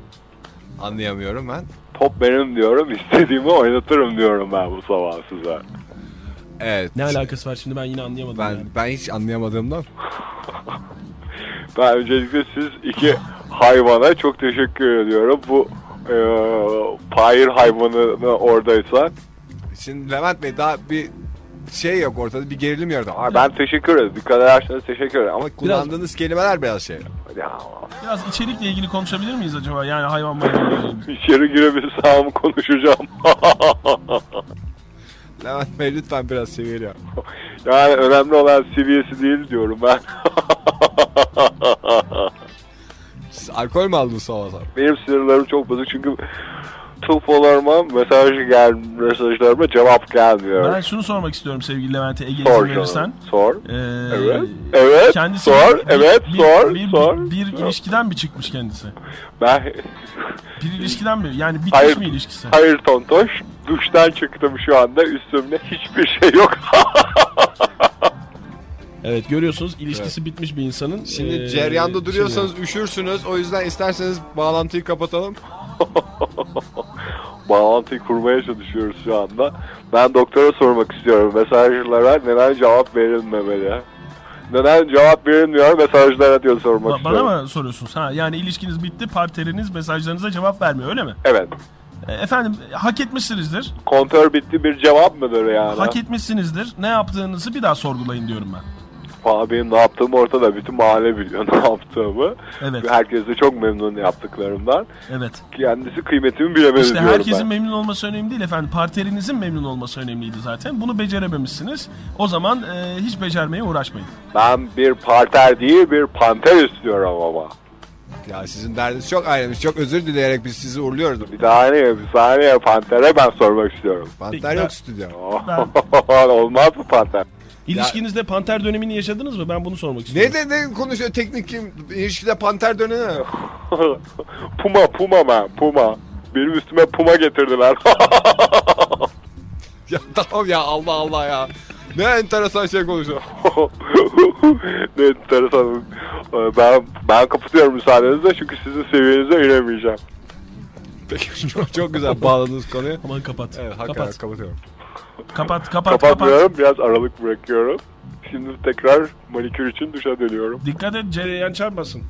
Speaker 2: Anlayamıyorum ben.
Speaker 6: Top benim diyorum. İstediğimi oynatırım diyorum ben bu sabah size.
Speaker 2: Evet.
Speaker 5: Ne alakası var şimdi ben yine anlayamadım. yani.
Speaker 2: Ben, ben hiç anlayamadığımdan.
Speaker 6: Ben öncelikle siz iki hayvana çok teşekkür ediyorum. Bu e, payır hayvanı oradaysa.
Speaker 2: Şimdi Levent Bey daha bir şey yok ortada bir gerilim yaratıyor. Aa, ben
Speaker 6: Ben teşekkür ederim. Dikkat ederseniz teşekkür ederim. Ama
Speaker 2: kullandığınız kelimeler biraz şey.
Speaker 6: ya,
Speaker 5: Biraz içerikle ilgili konuşabilir miyiz acaba? Yani hayvan bayramı.
Speaker 6: içeri girebilsem konuşacağım.
Speaker 2: Levent Bey lütfen biraz seviyeli yap.
Speaker 6: yani önemli olan seviyesi değil diyorum ben.
Speaker 2: Siz alkol mü aldınız sabah sabah?
Speaker 6: Benim sinirlerim çok bozuk çünkü tufolarıma mesaj gel mesajlarıma cevap gelmiyor.
Speaker 5: Ben şunu sormak istiyorum sevgili Levent'e Ege izin
Speaker 6: sor canım,
Speaker 5: verirsen.
Speaker 6: Sor.
Speaker 5: Ee,
Speaker 6: Evet, evet,
Speaker 5: kendisi
Speaker 6: sor, evet, sor,
Speaker 5: bir,
Speaker 6: sor.
Speaker 5: Bir ilişkiden mi çıkmış kendisi?
Speaker 6: Ben
Speaker 5: Bir ilişkiden mi? Yani bitmiş
Speaker 6: Hayır.
Speaker 5: mi ilişkisi?
Speaker 6: hayır tontoş duştan çıktım şu anda üstümde hiçbir şey yok.
Speaker 5: Evet görüyorsunuz ilişkisi bitmiş bir insanın.
Speaker 2: Şimdi
Speaker 5: ee,
Speaker 2: ceryanda duruyorsanız
Speaker 5: şeyi-
Speaker 2: üşürsünüz. O yüzden isterseniz bağlantıyı kapatalım.
Speaker 6: Bağlantıyı kurmaya çalışıyoruz şu anda. Ben doktora sormak istiyorum. Mesajlara neden cevap verilmemeli? Neden cevap verilmiyor mesajlara diyor sormak
Speaker 5: Ba- bana
Speaker 6: istiyorum.
Speaker 5: mı soruyorsunuz? Ha yani ilişkiniz bitti, partneriniz mesajlarınıza cevap vermiyor öyle mi?
Speaker 6: Evet.
Speaker 5: E, efendim hak etmişsinizdir.
Speaker 6: Kontör bitti bir cevap mıdır yani?
Speaker 5: Hak etmişsinizdir. Ne yaptığınızı bir daha sorgulayın diyorum ben.
Speaker 6: Valla benim ne yaptığım ortada. Bütün mahalle biliyor ne yaptığımı.
Speaker 5: Evet.
Speaker 6: Herkes de çok memnun yaptıklarımdan.
Speaker 5: Evet.
Speaker 6: Kendisi kıymetimi bilemedi
Speaker 5: İşte
Speaker 6: diyorum
Speaker 5: herkesin
Speaker 6: ben.
Speaker 5: memnun olması önemli değil efendim. Partnerinizin memnun olması önemliydi zaten. Bunu becerememişsiniz. O zaman e, hiç becermeye uğraşmayın.
Speaker 6: Ben bir parter değil bir panter istiyorum ama.
Speaker 2: Ya sizin derdiniz çok ayrılmış. Çok özür dileyerek biz sizi uğurluyoruz.
Speaker 6: Bir saniye bir saniye pantere ben sormak istiyorum.
Speaker 2: Panter
Speaker 5: Peki, ben-
Speaker 2: yok stüdyo.
Speaker 6: Olmaz mı panter?
Speaker 5: İlişkinizde panter dönemini yaşadınız mı? Ben bunu sormak
Speaker 2: Ne
Speaker 5: istiyorum.
Speaker 2: de ne konuşuyor teknik kim? İlişkide panter dönene.
Speaker 6: puma puma ben puma. Benim üstüme puma getirdiler.
Speaker 2: ya tamam ya Allah Allah ya. Ne enteresan şey konuşuyor.
Speaker 6: ne enteresan. Ee, Ben, ben kapatıyorum müsaadenizle çünkü sizin seviyenize inemeyeceğim.
Speaker 2: Peki çok, çok güzel bağladınız konuyu.
Speaker 5: Aman kapat.
Speaker 2: Evet hakikaten
Speaker 5: kapat.
Speaker 2: kapatıyorum.
Speaker 5: kapat. Kapat. Kapat.
Speaker 6: Kapatmıyorum biraz aralık bırakıyorum. Şimdi tekrar manikür için duşa dönüyorum.
Speaker 5: Dikkat et cereyan çarpmasın.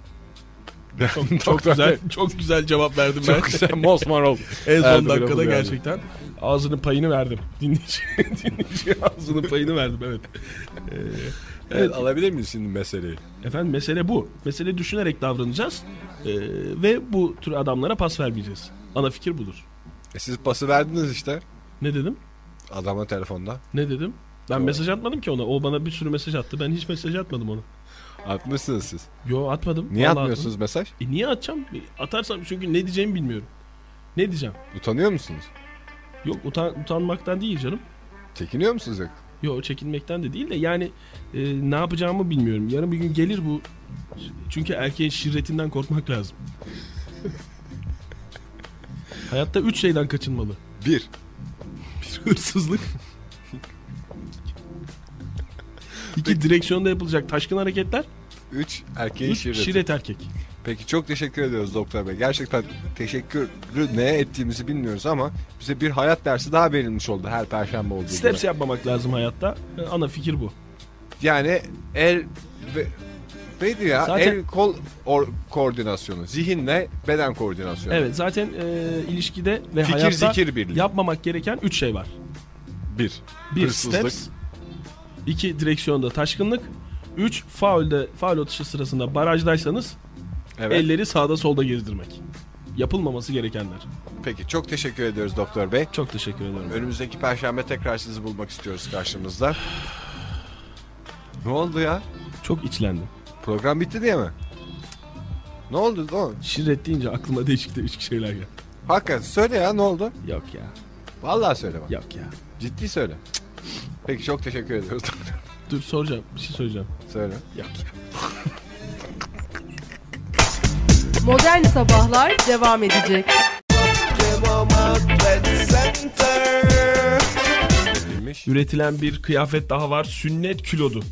Speaker 2: Çok,
Speaker 5: Çok güzel. Çok güzel cevap verdim ben.
Speaker 2: Çok güzel mosmar oldu.
Speaker 5: En son
Speaker 2: Erdoğan'ı
Speaker 5: dakikada
Speaker 2: buldu yani.
Speaker 5: gerçekten ağzının payını verdim. Dinleyici, dinleyici ağzının payını verdim evet.
Speaker 2: Evet, alabilir miyiz şimdi meseleyi?
Speaker 5: Efendim mesele bu. Mesele düşünerek davranacağız ee, ve bu tür adamlara pas vermeyeceğiz. Ana fikir budur.
Speaker 2: E, siz pası verdiniz işte
Speaker 5: Ne dedim?
Speaker 2: adama telefonda.
Speaker 5: Ne dedim? Ben mesaj atmadım ki ona. O bana bir sürü mesaj attı. Ben hiç mesaj atmadım ona.
Speaker 2: Atmışsınız siz.
Speaker 5: Yo atmadım.
Speaker 2: Niye
Speaker 5: Vallahi
Speaker 2: atmıyorsunuz mesaj?
Speaker 5: atmadım. E, niye atacağım? Atarsam çünkü ne diyeceğimi bilmiyorum. Ne diyeceğim?
Speaker 2: Utanıyor musunuz?
Speaker 5: Yok utan, utanmaktan değil canım.
Speaker 2: Çekiniyor musunuz yok?
Speaker 5: Yo çekinmekten de değil de yani e, ne yapacağımı bilmiyorum. Yarın bir gün gelir bu. Çünkü erkeğin şirretinden korkmak lazım. Hayatta üç şeyden kaçınmalı.
Speaker 2: Bir.
Speaker 5: Bir hırsızlık. İki direksiyonda yapılacak taşkın hareketler.
Speaker 2: Üç erkeğin
Speaker 5: Üç
Speaker 2: şirreti.
Speaker 5: şirret erkek.
Speaker 2: Peki çok teşekkür ediyoruz doktor bey. Gerçekten teşekkürü neye ettiğimizi bilmiyoruz ama bize bir hayat dersi daha verilmiş oldu her perşembe olduğu gibi.
Speaker 5: Steps yapmamak lazım hayatta. E, Ana fikir bu.
Speaker 2: Yani el ve Neydi ya?
Speaker 5: Zaten-
Speaker 2: El kol or- koordinasyonu. Zihinle beden koordinasyonu.
Speaker 5: Evet zaten e, ilişkide ve
Speaker 2: Fikir
Speaker 5: hayatta
Speaker 2: zikir birliği.
Speaker 5: yapmamak gereken üç şey var.
Speaker 2: Bir.
Speaker 5: Bir
Speaker 2: Hırsızlık.
Speaker 5: steps. iki direksiyonda taşkınlık. Üç faulde faul atışı sırasında barajdaysanız
Speaker 2: Evet.
Speaker 5: elleri sağda solda gezdirmek. Yapılmaması gerekenler.
Speaker 2: Peki çok teşekkür ediyoruz doktor bey.
Speaker 5: Çok teşekkür ederim.
Speaker 2: Önümüzdeki perşembe tekrar sizi bulmak istiyoruz karşımızda. ne oldu ya?
Speaker 5: Çok içlendim.
Speaker 2: Program bitti diye mi? Ne oldu? Ne oldu?
Speaker 5: Şirret deyince aklıma değişik değişik şeyler geldi.
Speaker 2: Hakikaten söyle ya ne oldu?
Speaker 5: Yok ya.
Speaker 2: Vallahi söyle bak.
Speaker 5: Yok ya.
Speaker 2: Ciddi söyle. Peki çok teşekkür ediyoruz.
Speaker 5: Dur soracağım. Bir şey söyleyeceğim.
Speaker 2: söyle.
Speaker 5: Yok ya.
Speaker 3: Modern Sabahlar devam edecek.
Speaker 2: Bilmiş.
Speaker 5: Üretilen bir kıyafet daha var. Sünnet kilodu.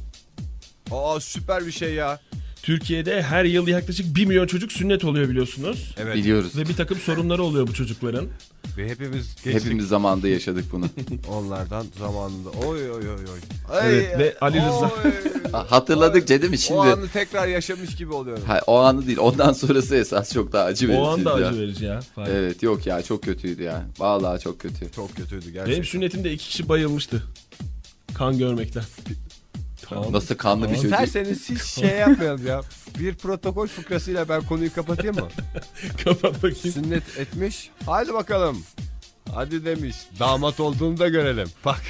Speaker 2: Aa süper bir şey ya.
Speaker 5: Türkiye'de her yıl yaklaşık 1 milyon çocuk sünnet oluyor biliyorsunuz.
Speaker 2: Evet.
Speaker 4: Biliyoruz.
Speaker 5: Ve bir takım sorunları oluyor bu çocukların.
Speaker 2: Ve hepimiz geçtik
Speaker 4: Hepimiz zamanında yaşadık bunu.
Speaker 2: onlardan zamanında. Oy oy oy oy.
Speaker 5: Evet, ve Ali Rıza.
Speaker 2: Oy.
Speaker 4: Ha- Hatırladıkça değil mi
Speaker 2: o
Speaker 4: şimdi?
Speaker 2: anı tekrar yaşamış gibi oluyorum.
Speaker 4: Ha, O anı değil. Ondan sonrası esas çok daha acı verici.
Speaker 5: O anda
Speaker 4: ya.
Speaker 5: acı verici ya. Fahir.
Speaker 4: Evet yok ya çok kötüydü ya. Vallahi çok kötü.
Speaker 2: Çok kötüydü
Speaker 5: Benim
Speaker 2: gerçekten.
Speaker 5: sünnetimde iki kişi bayılmıştı. Kan görmekten.
Speaker 4: Nasıl kanlı bir çocuk.
Speaker 7: İsterseniz siz şey yapmayalım ya. Bir protokol fıkrasıyla ben konuyu kapatayım mı?
Speaker 5: Kapat bakayım.
Speaker 7: Sünnet etmiş. Hadi bakalım. Hadi demiş. Damat olduğunu da görelim. Bak.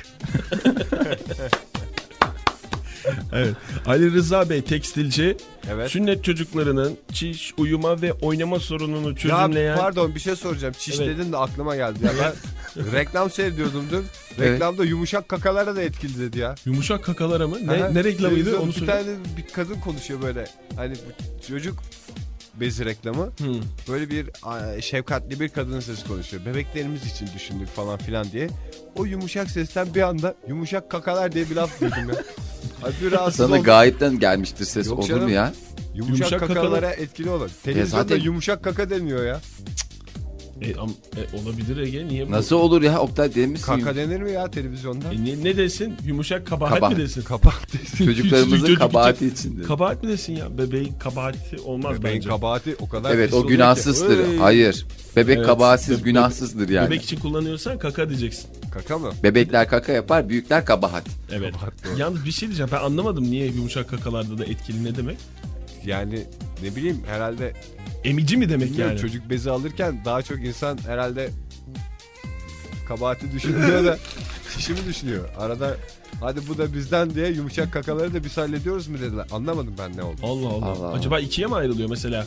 Speaker 5: Evet. Ali Rıza Bey tekstilci.
Speaker 7: Evet.
Speaker 5: Sünnet çocuklarının çiş, uyuma ve oynama sorununu çözümleyen
Speaker 7: Ya pardon bir şey soracağım. Çiş
Speaker 5: Evet.
Speaker 7: dedin de aklıma geldi ya. Ben reklam seyrediyordum dün.
Speaker 4: Evet.
Speaker 7: Reklamda yumuşak kakalara da etkili dedi ya.
Speaker 5: yumuşak kakalara mı? Ne,
Speaker 7: Aha,
Speaker 5: ne reklamıydı
Speaker 7: televizyon
Speaker 5: onu
Speaker 7: Bir
Speaker 5: söyle.
Speaker 7: tane bir kadın konuşuyor böyle. Hani bu çocuk bezi reklamı.
Speaker 5: Hı.
Speaker 7: Böyle bir a, şefkatli bir kadının sesi konuşuyor. Bebeklerimiz için düşündük falan filan diye. O yumuşak sesten bir anda yumuşak kakalar diye bir laf duydum ya. Ay bir rahatsız
Speaker 4: Sana
Speaker 7: oldum.
Speaker 4: gayipten gelmiştir ses
Speaker 7: Yok
Speaker 4: olur
Speaker 7: canım.
Speaker 4: mu ya?
Speaker 7: yumuşak,
Speaker 5: Yumuşak
Speaker 7: kakalara
Speaker 5: kakalar.
Speaker 7: etkili olur. Televizyonda
Speaker 4: zaten-
Speaker 7: yumuşak kaka deniyor ya.
Speaker 5: E, am- e, olabilir Ege niye bu?
Speaker 4: Nasıl olur ya Oktay demişsin.
Speaker 7: Kaka denir mi ya televizyonda?
Speaker 5: E, ne, ne desin? Yumuşak kabahat
Speaker 4: Kabahat.
Speaker 5: mi desin?
Speaker 7: Kabahat desin.
Speaker 5: Küçücük
Speaker 4: Çocuklarımızın
Speaker 5: çocuk
Speaker 4: kabahati içindir.
Speaker 5: Kabahat mi desin ya? Bebeğin kabahati olmaz
Speaker 7: Bebeğin
Speaker 5: bence.
Speaker 7: kabahati o kadar
Speaker 4: Evet
Speaker 7: pis oluyor
Speaker 4: o
Speaker 7: ki.
Speaker 4: günahsızdır.
Speaker 7: Oy.
Speaker 4: Hayır. Bebek
Speaker 5: Evet.
Speaker 4: kabahatsiz,
Speaker 5: Bebe-
Speaker 4: günahsızdır yani.
Speaker 5: Bebek için kullanıyorsan kaka diyeceksin.
Speaker 7: Kaka mı?
Speaker 4: Bebekler kaka yapar, büyükler kabahat.
Speaker 5: Evet.
Speaker 7: Kabahat doğru.
Speaker 5: Yalnız bir şey diyeceğim. Ben anlamadım niye yumuşak kakalarda da etkili ne demek?
Speaker 7: Yani ne bileyim herhalde
Speaker 5: Emici mi demek
Speaker 7: bilmiyorum,
Speaker 5: yani?
Speaker 7: çocuk bezi alırken daha çok insan herhalde kabahati düşünüyor da şimdi düşünüyor. Arada hadi bu da bizden diye yumuşak kakaları da biz hallediyoruz mu dediler. Anlamadım ben ne oldu.
Speaker 5: Allah Allah.
Speaker 4: Allah Allah.
Speaker 5: Acaba ikiye mi ayrılıyor mesela?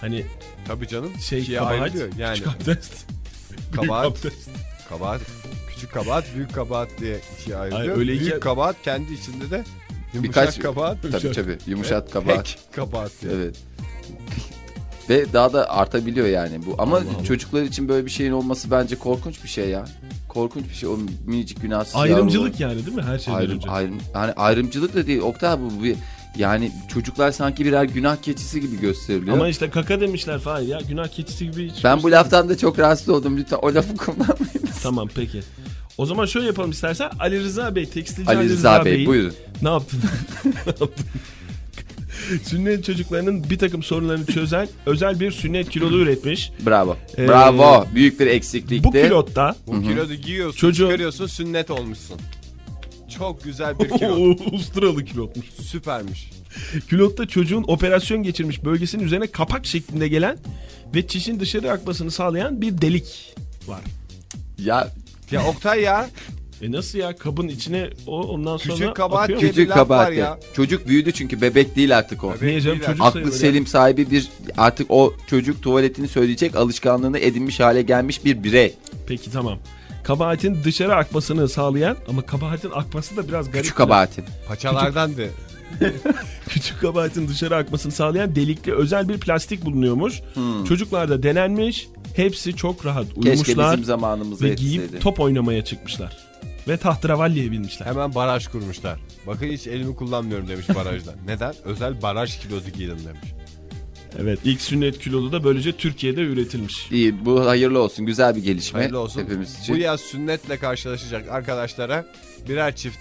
Speaker 5: Hani
Speaker 7: Tabii canım
Speaker 5: şey
Speaker 7: ikiye
Speaker 5: kabahat,
Speaker 7: ayrılıyor. Yani
Speaker 5: küçük abdest, büyük
Speaker 7: Kabahat.
Speaker 5: abdest.
Speaker 7: kabahat küçük kabahat büyük kabahat diye ikiye ayrılıyor.
Speaker 5: Hayır, öyle
Speaker 7: büyük
Speaker 5: ikiye-
Speaker 7: kabahat kendi içinde de yumuşak
Speaker 4: Birkaç-
Speaker 7: kabahat.
Speaker 4: Tabii tabii. Yumuşat kabahat.
Speaker 7: Pek kabahat diye.
Speaker 4: Evet. Ve daha da artabiliyor yani bu. Ama çocuklar için böyle bir şeyin olması bence korkunç bir şey ya. Korkunç bir şey o minicik günahsız
Speaker 5: Ayrımcılık yani değil mi her şeyden
Speaker 4: yavrular. Ayrım,
Speaker 5: önce?
Speaker 4: ayrım, yani ayrımcılık da değil. Oktay bu bir yani çocuklar sanki birer günah keçisi gibi gösteriliyor.
Speaker 5: Ama işte kaka demişler falan ya günah keçisi gibi. hiç-
Speaker 4: ben bu laftan da çok rahatsız oldum. Lütfen o lafı kullanmayınız.
Speaker 5: Tamam peki. O zaman şöyle yapalım istersen Ali Rıza Bey tekstilci
Speaker 4: Ali Rıza Bey
Speaker 5: Bey'in-
Speaker 4: buyurun.
Speaker 5: Ne yaptın? ne yaptın? sünnet çocuklarının bir takım sorunlarını çözen özel bir sünnet kilolu üretmiş.
Speaker 4: Bravo.
Speaker 5: Ee,
Speaker 4: Bravo. Büyük bir eksiklikti.
Speaker 5: Bu kilotta
Speaker 7: Bu kilodu giyiyorsun,
Speaker 5: Çocuğu-
Speaker 7: çıkarıyorsun, sünnet olmuşsun. Çok güzel bir kilo.
Speaker 5: Avustralı kilotmuş.
Speaker 7: Süpermiş.
Speaker 5: Kilotta çocuğun operasyon geçirmiş bölgesinin üzerine kapak şeklinde gelen ve çişin dışarı akmasını sağlayan bir delik var.
Speaker 4: Ya
Speaker 7: Ya Oktay ya,
Speaker 5: E nasıl ya kabın içine o ondan sonra
Speaker 7: Küçük kabahat
Speaker 5: akıyor mu?
Speaker 7: diye bir
Speaker 4: küçük
Speaker 7: laf var
Speaker 4: kabahat.
Speaker 7: ya. şey
Speaker 4: Çocuk büyüdü çünkü bebek değil artık o.
Speaker 7: Bebek
Speaker 5: Niye canım
Speaker 7: değil
Speaker 5: çocuk
Speaker 4: Aklı
Speaker 5: sayılır ya.
Speaker 4: selim sahibi bir artık o çocuk tuvaletini söyleyecek alışkanlığını edinmiş hale gelmiş bir birey.
Speaker 5: Peki tamam. Kabahatin dışarı akmasını sağlayan ama kabahatin akması da biraz garip.
Speaker 4: Küçük kabahatin.
Speaker 7: paçalardan de.
Speaker 5: Küçük kabahatin dışarı akmasını sağlayan delikli özel bir plastik bulunuyormuş. Çocuklarda denenmiş. Hepsi çok rahat
Speaker 4: Keşke
Speaker 5: uyumuşlar
Speaker 4: bizim zamanımızda
Speaker 5: ve
Speaker 4: yetişseydi.
Speaker 5: giyip top oynamaya çıkmışlar. Ve tahtravalliye binmişler.
Speaker 7: Hemen baraj kurmuşlar. Bakın hiç elimi kullanmıyorum demiş barajdan. Neden? Özel baraj kilodu giydin demiş.
Speaker 5: Evet ilk sünnet kilolu da böylece Türkiye'de üretilmiş.
Speaker 4: İyi bu hayırlı olsun. Güzel bir gelişme
Speaker 7: Hayırlı olsun.
Speaker 4: hepimiz
Speaker 7: Bu
Speaker 4: için.
Speaker 7: yaz sünnetle karşılaşacak arkadaşlara birer çift.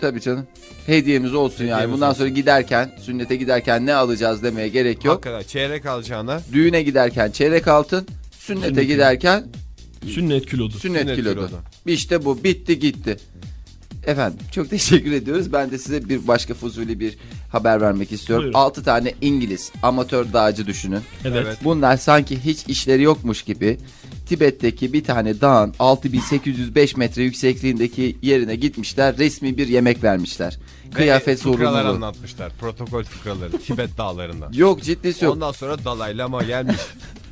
Speaker 4: Tabii canım. Hediyemiz olsun yani.
Speaker 7: Hediyemiz
Speaker 4: Bundan
Speaker 7: olsun.
Speaker 4: sonra giderken, sünnete giderken ne alacağız demeye gerek yok.
Speaker 7: Hakikaten çeyrek alacağına
Speaker 4: Düğüne giderken çeyrek altın, sünnete
Speaker 5: Sünnet.
Speaker 4: giderken
Speaker 5: Sünnet kilodu.
Speaker 4: sünnet,
Speaker 7: Sünnet
Speaker 4: kilodu.
Speaker 7: kilodu.
Speaker 4: İşte bu bitti gitti. Efendim çok teşekkür ediyoruz. Ben de size bir başka fuzuli bir haber vermek istiyorum.
Speaker 5: Buyurun.
Speaker 4: 6 tane İngiliz amatör dağcı düşünün.
Speaker 5: Evet.
Speaker 7: Evet.
Speaker 4: Bunlar sanki hiç işleri yokmuş gibi Tibet'teki bir tane dağın 6805 metre yüksekliğindeki yerine gitmişler. Resmi bir yemek vermişler. Kıyafet
Speaker 7: ve E, fıkralar
Speaker 4: sorumluluğu.
Speaker 7: anlatmışlar. Protokol fıkraları Tibet dağlarında.
Speaker 4: Yok ciddisi yok.
Speaker 7: Ondan sonra Dalai Lama gelmiş.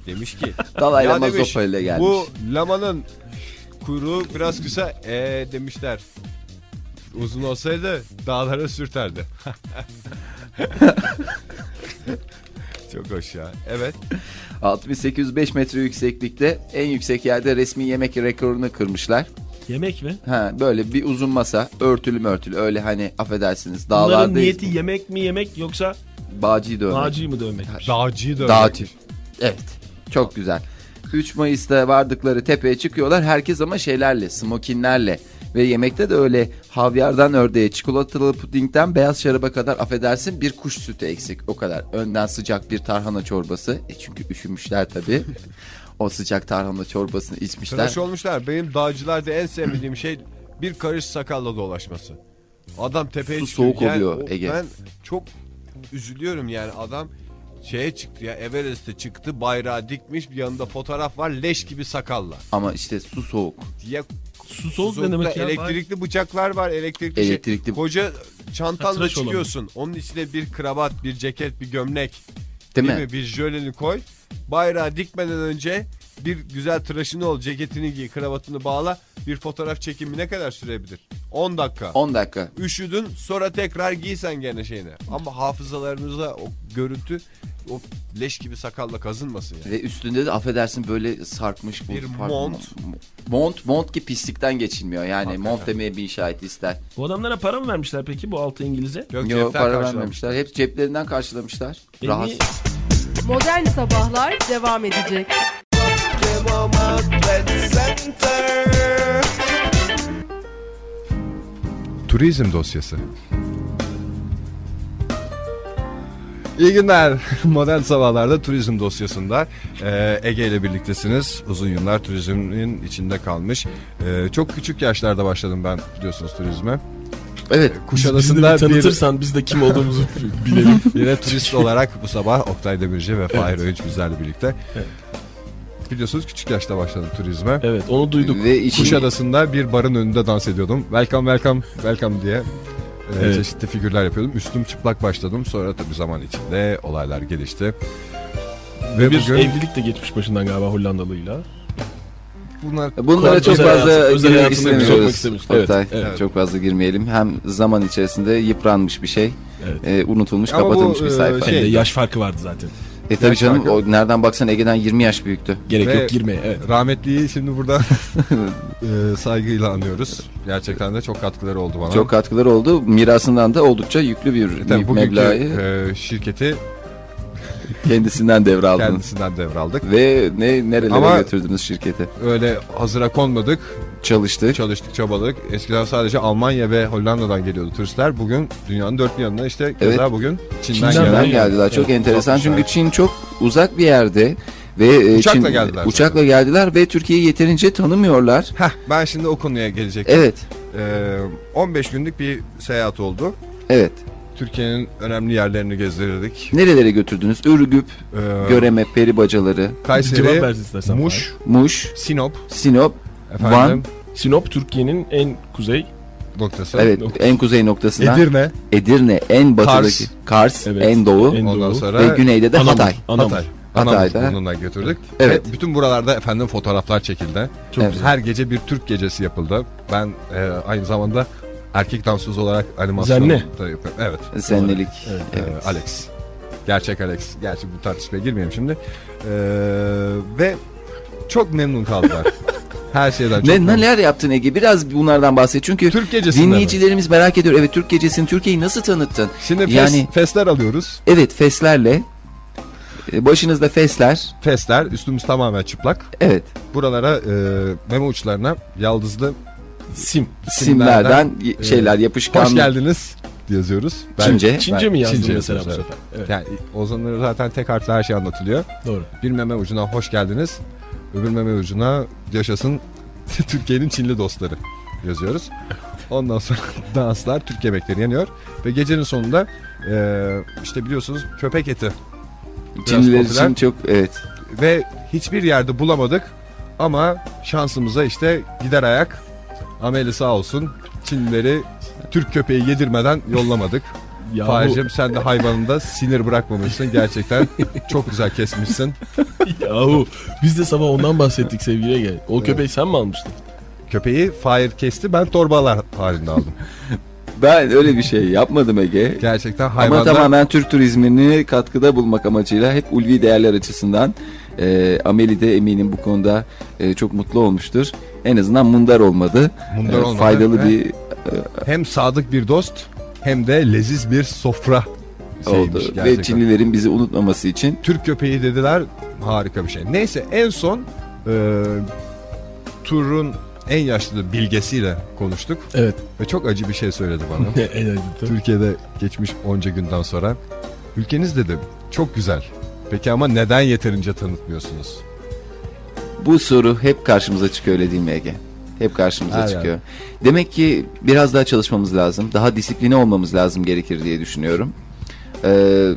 Speaker 7: Demiş ki.
Speaker 4: Dalai
Speaker 7: "Ya
Speaker 4: Lama
Speaker 7: demiş,
Speaker 4: zopayla gelmiş."
Speaker 7: Bu lamanın kuyruğu biraz kısa. Ee demişler. Uzun olsaydı dağlara sürterdi. Çok hoş ya. Evet.
Speaker 4: 6805 metre yükseklikte en yüksek yerde resmi yemek rekorunu kırmışlar.
Speaker 5: Yemek mi?
Speaker 4: Ha böyle bir uzun masa örtülü mörtülü öyle hani affedersiniz
Speaker 5: Bunların
Speaker 4: dağlardayız.
Speaker 5: niyeti yemek mi yemek yoksa
Speaker 4: Bağcıyı dövmek.
Speaker 5: Naci'yi mi
Speaker 2: şey.
Speaker 5: dövmekmiş?
Speaker 7: Dağcıyı da
Speaker 4: Dağcı. Evet çok güzel. 3 Mayıs'ta vardıkları tepeye çıkıyorlar herkes ama şeylerle smokinlerle ve yemekte de öyle havyardan ördeğe çikolatalı pudingden beyaz şaraba kadar affedersin bir kuş sütü eksik o kadar. Önden sıcak bir tarhana çorbası e çünkü üşümüşler tabii. o sıcak tarhana çorbasını içmişler.
Speaker 7: Tıraş olmuşlar. Benim dağcılarda en sevmediğim şey bir karış sakalla dolaşması. Adam tepeye
Speaker 4: Su
Speaker 7: çıkıyor.
Speaker 4: soğuk
Speaker 7: Yani
Speaker 4: oluyor,
Speaker 7: o-
Speaker 4: Ege.
Speaker 7: Ben çok üzülüyorum yani adam şeye çıktı ya Everest'e çıktı bayrağı dikmiş bir yanında fotoğraf var leş gibi sakalla.
Speaker 4: Ama işte su soğuk.
Speaker 7: Ya
Speaker 5: Su soğuk ne
Speaker 7: Soğukta
Speaker 5: demek ya?
Speaker 7: Elektrikli bıçaklar var, elektrikli,
Speaker 4: Elektrikli-
Speaker 7: şey. Koca çantanla
Speaker 5: Tıraş olan mı?
Speaker 7: çıkıyorsun. Onun içine bir kravat, bir ceket, bir gömlek,
Speaker 4: Değil, mi?
Speaker 7: bir jöleni koy. Bayrağı dikmeden önce bir güzel tıraşını ol, ceketini giy, kravatını bağla. Bir fotoğraf çekimi ne kadar sürebilir? 10 dakika.
Speaker 4: 10 dakika.
Speaker 7: Üşüdün, sonra tekrar giysen gene şeyini. Ama hafızalarınıza o görüntü o leş gibi sakalla kazınmasın yani.
Speaker 4: Ve üstünde de affedersin böyle sarkmış bu
Speaker 7: Bir
Speaker 4: pardon,
Speaker 7: mont.
Speaker 4: Mont mont ki pislikten geçilmiyor. Yani mont demeye bir şahit ister.
Speaker 5: Bu adamlara para mı vermişler peki bu altı İngiliz'e?
Speaker 7: Yok,
Speaker 4: Yok
Speaker 7: cepten
Speaker 4: para
Speaker 7: karşılamış.
Speaker 4: vermemişler. Hep ceplerinden karşılamışlar.
Speaker 5: E
Speaker 4: Rahat.
Speaker 5: niye-
Speaker 3: Modern Sabahlar devam edecek.
Speaker 2: Turizm dosyası.
Speaker 7: İyi günler.
Speaker 2: Modern sabahlarda turizm dosyasında e, Ege ile birliktesiniz. Uzun yıllar turizmin içinde kalmış. E, çok küçük yaşlarda başladım ben biliyorsunuz turizme. E,
Speaker 4: Evet.
Speaker 2: Kuşadası'nda bir
Speaker 5: biz de kim olduğumuzu
Speaker 2: bilelim. Yine turist olarak bu sabah Oktay Demirci ve Fahir Öğünç bizlerle birlikte. Biliyorsunuz küçük yaşta başladım turizme.
Speaker 5: Evet onu duyduk.
Speaker 4: Ve işin
Speaker 2: Kuşadası'nda bir barın önünde dans ediyordum. Welcome welcome welcome diye. e,
Speaker 5: Evet.
Speaker 2: Çeşitli figürler yapıyordum. Üstüm çıplak başladım. Sonra tabii zaman içinde olaylar gelişti. Ve
Speaker 5: Bir
Speaker 2: bugün
Speaker 5: evlilik de geçmiş başından galiba Hollandalıyla.
Speaker 2: bunlar
Speaker 4: E, Bunlara çok
Speaker 5: Özel
Speaker 4: fazla
Speaker 5: hayatı- özel
Speaker 4: girmek
Speaker 5: hayatını biz sokmak
Speaker 4: istemiyoruz.
Speaker 5: istemiyoruz.
Speaker 4: Oktay,
Speaker 2: evet.
Speaker 4: Çok fazla girmeyelim. Hem zaman içerisinde yıpranmış bir şey.
Speaker 5: Evet.
Speaker 4: e, unutulmuş,
Speaker 2: Ama bu,
Speaker 4: kapatılmış bir
Speaker 2: e,
Speaker 4: sayfa.
Speaker 2: şey-
Speaker 5: Hem de yaş farkı vardı zaten.
Speaker 4: e tabii
Speaker 2: yaş
Speaker 4: canım
Speaker 2: farkı-
Speaker 4: o, nereden baksan Ege'den 20 yaş büyüktü.
Speaker 5: Gerek
Speaker 2: Ve-
Speaker 5: yok girmeye. Evet.
Speaker 2: rahmetliyi şimdi burada e, saygıyla anıyoruz. Gerçekten de çok katkıları oldu bana.
Speaker 4: Çok katkıları oldu. Mirasından da oldukça yüklü bir
Speaker 2: Tabii bugünkü
Speaker 4: meblağı
Speaker 2: e, şirketi
Speaker 4: kendisinden devraldınız.
Speaker 2: kendisinden devraldık.
Speaker 4: Ve ne nerelere
Speaker 2: Ama-
Speaker 4: götürdünüz şirketi?
Speaker 2: Öyle hazıra konmadık.
Speaker 4: Çalıştı.
Speaker 2: Çalıştık, çabaladık. Eskiden sadece Almanya ve Hollanda'dan geliyordu turistler. Bugün dünyanın dört bir yanına işte keza
Speaker 4: Evet.
Speaker 2: bugün Çin'den,
Speaker 4: Çin'den,
Speaker 5: Çin'den
Speaker 2: gelen
Speaker 5: gelen-
Speaker 4: geldiler. Çok
Speaker 2: Evet,
Speaker 4: enteresan
Speaker 2: uzakmış,
Speaker 4: çünkü
Speaker 2: evet.
Speaker 4: Çin çok uzak bir yerde ve e,
Speaker 2: Uçakla
Speaker 4: Çin-
Speaker 2: geldiler
Speaker 4: Uçakla geldiler ve Türkiye'yi yeterince tanımıyorlar.
Speaker 2: Heh, ben şimdi o konuya gelecektim.
Speaker 4: Evet.
Speaker 2: Ee, 15 günlük bir seyahat oldu.
Speaker 4: Evet.
Speaker 2: Türkiye'nin önemli yerlerini gezdirirdik.
Speaker 4: Nerelere götürdünüz? Ürgüp,
Speaker 2: Ee,
Speaker 4: Göreme, Peribacaları,
Speaker 5: Cevap
Speaker 2: Kayseri,
Speaker 5: versin istersen.
Speaker 2: Muş,
Speaker 4: Muş,
Speaker 2: Sinop,
Speaker 4: Sinop,
Speaker 2: efendim,
Speaker 5: Fahir. Sinop Türkiye'nin en kuzey.
Speaker 2: noktası.
Speaker 4: evet
Speaker 5: Noktası.
Speaker 4: en kuzey noktasından
Speaker 2: Edirne,
Speaker 4: Edirne en batıdaki
Speaker 2: Kars.
Speaker 4: Kars,
Speaker 5: Evet.
Speaker 4: en doğu
Speaker 5: En-
Speaker 2: ondan
Speaker 5: Doğu
Speaker 4: ve
Speaker 2: sonra
Speaker 4: güneyde de
Speaker 5: Anamur,
Speaker 4: Hatay.
Speaker 5: Anamur.
Speaker 2: Hatay.
Speaker 4: Hatay'da.
Speaker 2: Anamur burnundan götürdük.
Speaker 4: Evet.
Speaker 2: Ve bütün buralarda efendim fotoğraflar çekildi.
Speaker 5: Çok
Speaker 4: Evet.
Speaker 5: güzel.
Speaker 2: Her gece bir Türk gecesi yapıldı. Ben e, aynı zamanda erkek dansöz olarak animasyon
Speaker 5: Zenne.
Speaker 2: da yapıyorum. Evet.
Speaker 4: Zennelik.
Speaker 5: Evet,
Speaker 2: Ee, Alex. Gerçek Alex. Gerçi bu tartışmaya girmeyelim şimdi. Ee, ve çok memnun kaldılar. Her şeyden çok
Speaker 4: Ne,
Speaker 2: memnun.
Speaker 4: neler yaptın Ege? Biraz bunlardan bahset. Çünkü
Speaker 2: Türk gecesinde mi?
Speaker 4: dinleyicilerimiz merak ediyor. Evet Türk gecesini Türkiye'yi nasıl tanıttın?
Speaker 2: Şimdi fes,
Speaker 4: Yani-
Speaker 2: fesler alıyoruz.
Speaker 4: Evet feslerle. e, Başınızda fesler.
Speaker 2: Fesler üstümüz tamamen çıplak.
Speaker 4: Evet.
Speaker 2: Buralara e, meme uçlarına yaldızlı
Speaker 5: Sim.
Speaker 2: Simlerden,
Speaker 4: Simlerden y- şeyler yapışkan.
Speaker 2: e, hoş geldiniz yazıyoruz. Ben-
Speaker 4: Çince.
Speaker 5: Çince mi yazdın
Speaker 2: Çince
Speaker 5: mesela bu
Speaker 2: yazıyoruz,
Speaker 5: sefer? Evet.
Speaker 2: Yani Ozan'ın zaten tek harfle her şey anlatılıyor.
Speaker 5: Doğru.
Speaker 2: Bir meme ucuna hoş geldiniz. Öbür meme ucuna yaşasın Türkiye'nin Çinli dostları yazıyoruz. Ondan sonra danslar Türk yemekleri yanıyor. Ve gecenin sonunda eee, işte biliyorsunuz köpek eti. Biraz
Speaker 4: Çinliler
Speaker 2: popüler.
Speaker 4: için çok evet.
Speaker 2: Ve hiçbir yerde bulamadık. Ama şansımıza işte gider ayak. Ameli sağ olsun. Çinlileri Türk köpeği yedirmeden yollamadık.
Speaker 5: Ya bu-
Speaker 2: Fahir'cim sen de hayvanında sinir bırakmamışsın. Gerçekten çok güzel kesmişsin.
Speaker 5: Yahu biz de sabah ondan bahsettik sevgili Ege. O köpeği sen mi almıştın?
Speaker 2: Köpeği Fahir kesti ben torbalar halinde aldım.
Speaker 4: Ben öyle bir şey yapmadım Ege.
Speaker 2: Gerçekten
Speaker 4: Ama
Speaker 2: hayvanda
Speaker 4: tamamen Türk turizmini katkıda bulmak amacıyla hep ulvi değerler açısından e, Ameli de eminim bu konuda e, çok mutlu olmuştur. En azından mundar olmadı.
Speaker 2: Mundar
Speaker 4: E,
Speaker 2: olmadı.
Speaker 4: Faydalı
Speaker 2: Ve-
Speaker 4: bir
Speaker 2: hem sadık bir dost hem de leziz bir sofra şeymiş
Speaker 4: oldu.
Speaker 2: gerçekten.
Speaker 4: Ve Çinlilerin bizi unutmaması için
Speaker 2: Türk köpeği dediler harika bir şey. Neyse en son e, turun en yaşlı bilgesiyle konuştuk
Speaker 5: Evet.
Speaker 2: ve çok acı bir şey söyledi bana. Türkiye'de geçmiş onca günden sonra ülkeniz dedi çok güzel. Peki ama neden yeterince tanıtmıyorsunuz?
Speaker 4: bu soru hep karşımıza çıkıyor öyle değil mi Ege? Hep karşımıza
Speaker 2: Her
Speaker 4: çıkıyor. Demek ki biraz daha çalışmamız lazım. Daha disipline olmamız lazım gerekir diye düşünüyorum. Ee,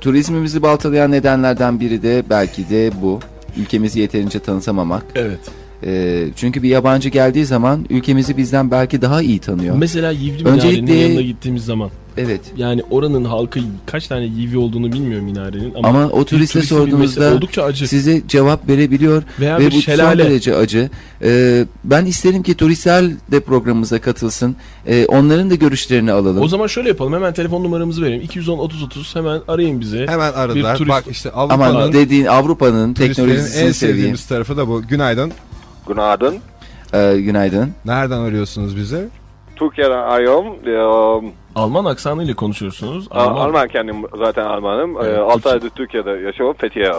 Speaker 4: turizmimizi baltalayan nedenlerden biri de belki de bu. Ülkemizi yeterince tanıtamamak.
Speaker 5: Evet.
Speaker 4: Ee, çünkü bir yabancı geldiği zaman ülkemizi bizden belki daha iyi tanıyor.
Speaker 5: Mesela Yivli
Speaker 4: Öncelikle-
Speaker 5: Minare'nin yanına gittiğimiz zaman
Speaker 4: Evet.
Speaker 5: yani oranın halkı kaç tane Yivli olduğunu bilmiyor minarenin ama,
Speaker 4: Ama o
Speaker 5: bir
Speaker 4: turiste
Speaker 5: turistin bilmesi
Speaker 4: sorduğunuzda
Speaker 5: oldukça acı.
Speaker 4: size cevap verebiliyor
Speaker 5: Veya bir
Speaker 4: ve bu son
Speaker 5: şelale
Speaker 4: derece acı. Ee, ben isterim ki turistler de programımıza katılsın. Ee, onların da görüşlerini alalım.
Speaker 5: O zaman şöyle yapalım. Hemen telefon numaramızı verelim. 210 30 30 hemen arayın bizi.
Speaker 2: Hemen aradılar.
Speaker 5: turist-
Speaker 2: Bak işte
Speaker 4: Aman
Speaker 2: Avrupa'nın
Speaker 4: dediğin Avrupa'nın
Speaker 2: turistlerin en
Speaker 4: teknolojisini seveyim.
Speaker 2: sevdiğimiz tarafı da bu. Günaydın.
Speaker 6: Günaydın.
Speaker 4: Ee, günaydın.
Speaker 2: Nereden arıyorsunuz bizi?
Speaker 6: Türkiye'den arıyorum. Ee,
Speaker 5: Alman aksanıyla konuşuyorsunuz.
Speaker 6: Alman.
Speaker 5: Alman.
Speaker 6: Alman kendim zaten Almanım. Ee,
Speaker 5: Evet,
Speaker 6: altı
Speaker 5: Türkçe.
Speaker 6: aydır Türkiye'de yaşıyorum. Fethiye.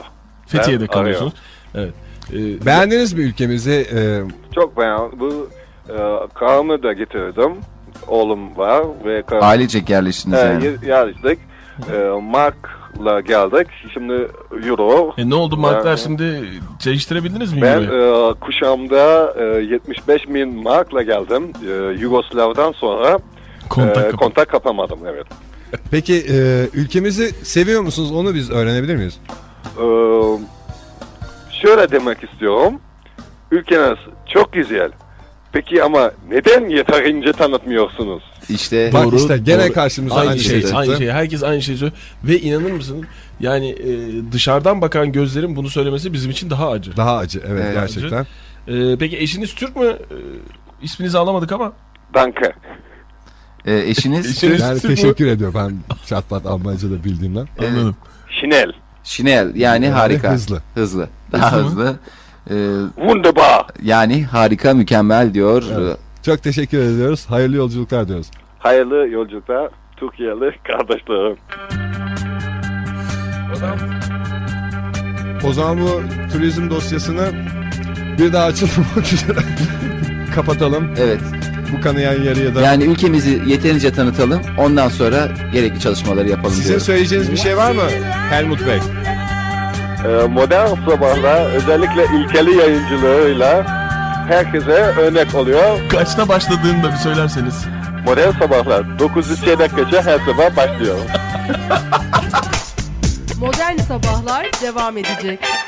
Speaker 5: Fethiye'de
Speaker 6: Ben
Speaker 5: kalıyorsunuz. Evet. Ee,
Speaker 2: Beğendiniz mi ülkemizi? Ee,
Speaker 6: Çok beğendim. Bu e, karımı da getirdim. Oğlum var ve karım.
Speaker 4: Ailecek yerleştiniz yani.
Speaker 6: e, yerleştik. E, Mark'la geldik. Şimdi Euro.
Speaker 5: e, ne oldu marklar
Speaker 6: Ben-
Speaker 5: şimdi değiştirebildiniz mi?
Speaker 6: Ben
Speaker 5: euroyu?
Speaker 6: e, kuşağımda e, 75 bin markla geldim. E, Yugoslav'dan sonra
Speaker 5: Kontak
Speaker 6: e,
Speaker 5: kapı.
Speaker 6: kontak kapamadım evet.
Speaker 2: peki e, ülkemizi seviyor musunuz? Onu biz öğrenebilir miyiz?
Speaker 6: Ee, şöyle demek istiyorum. Ülkeniz çok güzel. Peki ama neden yeterince tanıtmıyorsunuz?
Speaker 4: İşte
Speaker 2: Bak
Speaker 5: Doğru,
Speaker 2: işte gene
Speaker 5: doğru.
Speaker 2: karşımıza
Speaker 5: aynı,
Speaker 2: aynı,
Speaker 5: şey,
Speaker 2: çıktı.
Speaker 5: aynı şey. Herkes aynı şeyi söylüyor. Ve inanır mısın? Yani e, dışarıdan bakan gözlerin bunu söylemesi bizim için daha acı.
Speaker 2: Daha acı evet,
Speaker 6: Ee,
Speaker 4: Evet.
Speaker 2: gerçekten.
Speaker 5: E, peki eşiniz Türk mü? E, isminizi alamadık ama.
Speaker 6: Danke.
Speaker 4: e, eşiniz
Speaker 5: Eşiniz
Speaker 2: Yani
Speaker 5: Türk mü?
Speaker 2: teşekkür ediyor ben çatlat Almanca da bildiğimden.
Speaker 5: Anladım.
Speaker 6: Şinel.
Speaker 4: Şinel yani harika.
Speaker 2: hızlı.
Speaker 4: Hızlı. Daha
Speaker 5: Hızlı
Speaker 4: hızlı. Ee,
Speaker 6: Wunderbar.
Speaker 4: yani harika mükemmel diyor.
Speaker 2: Evet. Çok teşekkür ediyoruz. Hayırlı yolculuklar diyoruz.
Speaker 6: Hayırlı yolculuklar. Türkiye'li kardeşlerim.
Speaker 2: O zaman bu turizm dosyasını bir daha açılmamak üzere kapatalım.
Speaker 4: Evet.
Speaker 2: Bu kanayan yarıya da.
Speaker 4: Yani ülkemizi yeterince tanıtalım. Ondan sonra gerekli çalışmaları yapalım
Speaker 2: Size
Speaker 4: diyorum.
Speaker 2: söyleyeceğiniz bir şey var mı Helmut Bey?
Speaker 6: Ee, modern sabahlar özellikle ilkeli yayıncılığıyla herkese örnek oluyor.
Speaker 5: Kaçta başladığını da bir söylerseniz.
Speaker 6: Modern sabahlar 9'u çeyrek geçe her sabah başlıyor.
Speaker 3: Modern sabahlar devam edecek.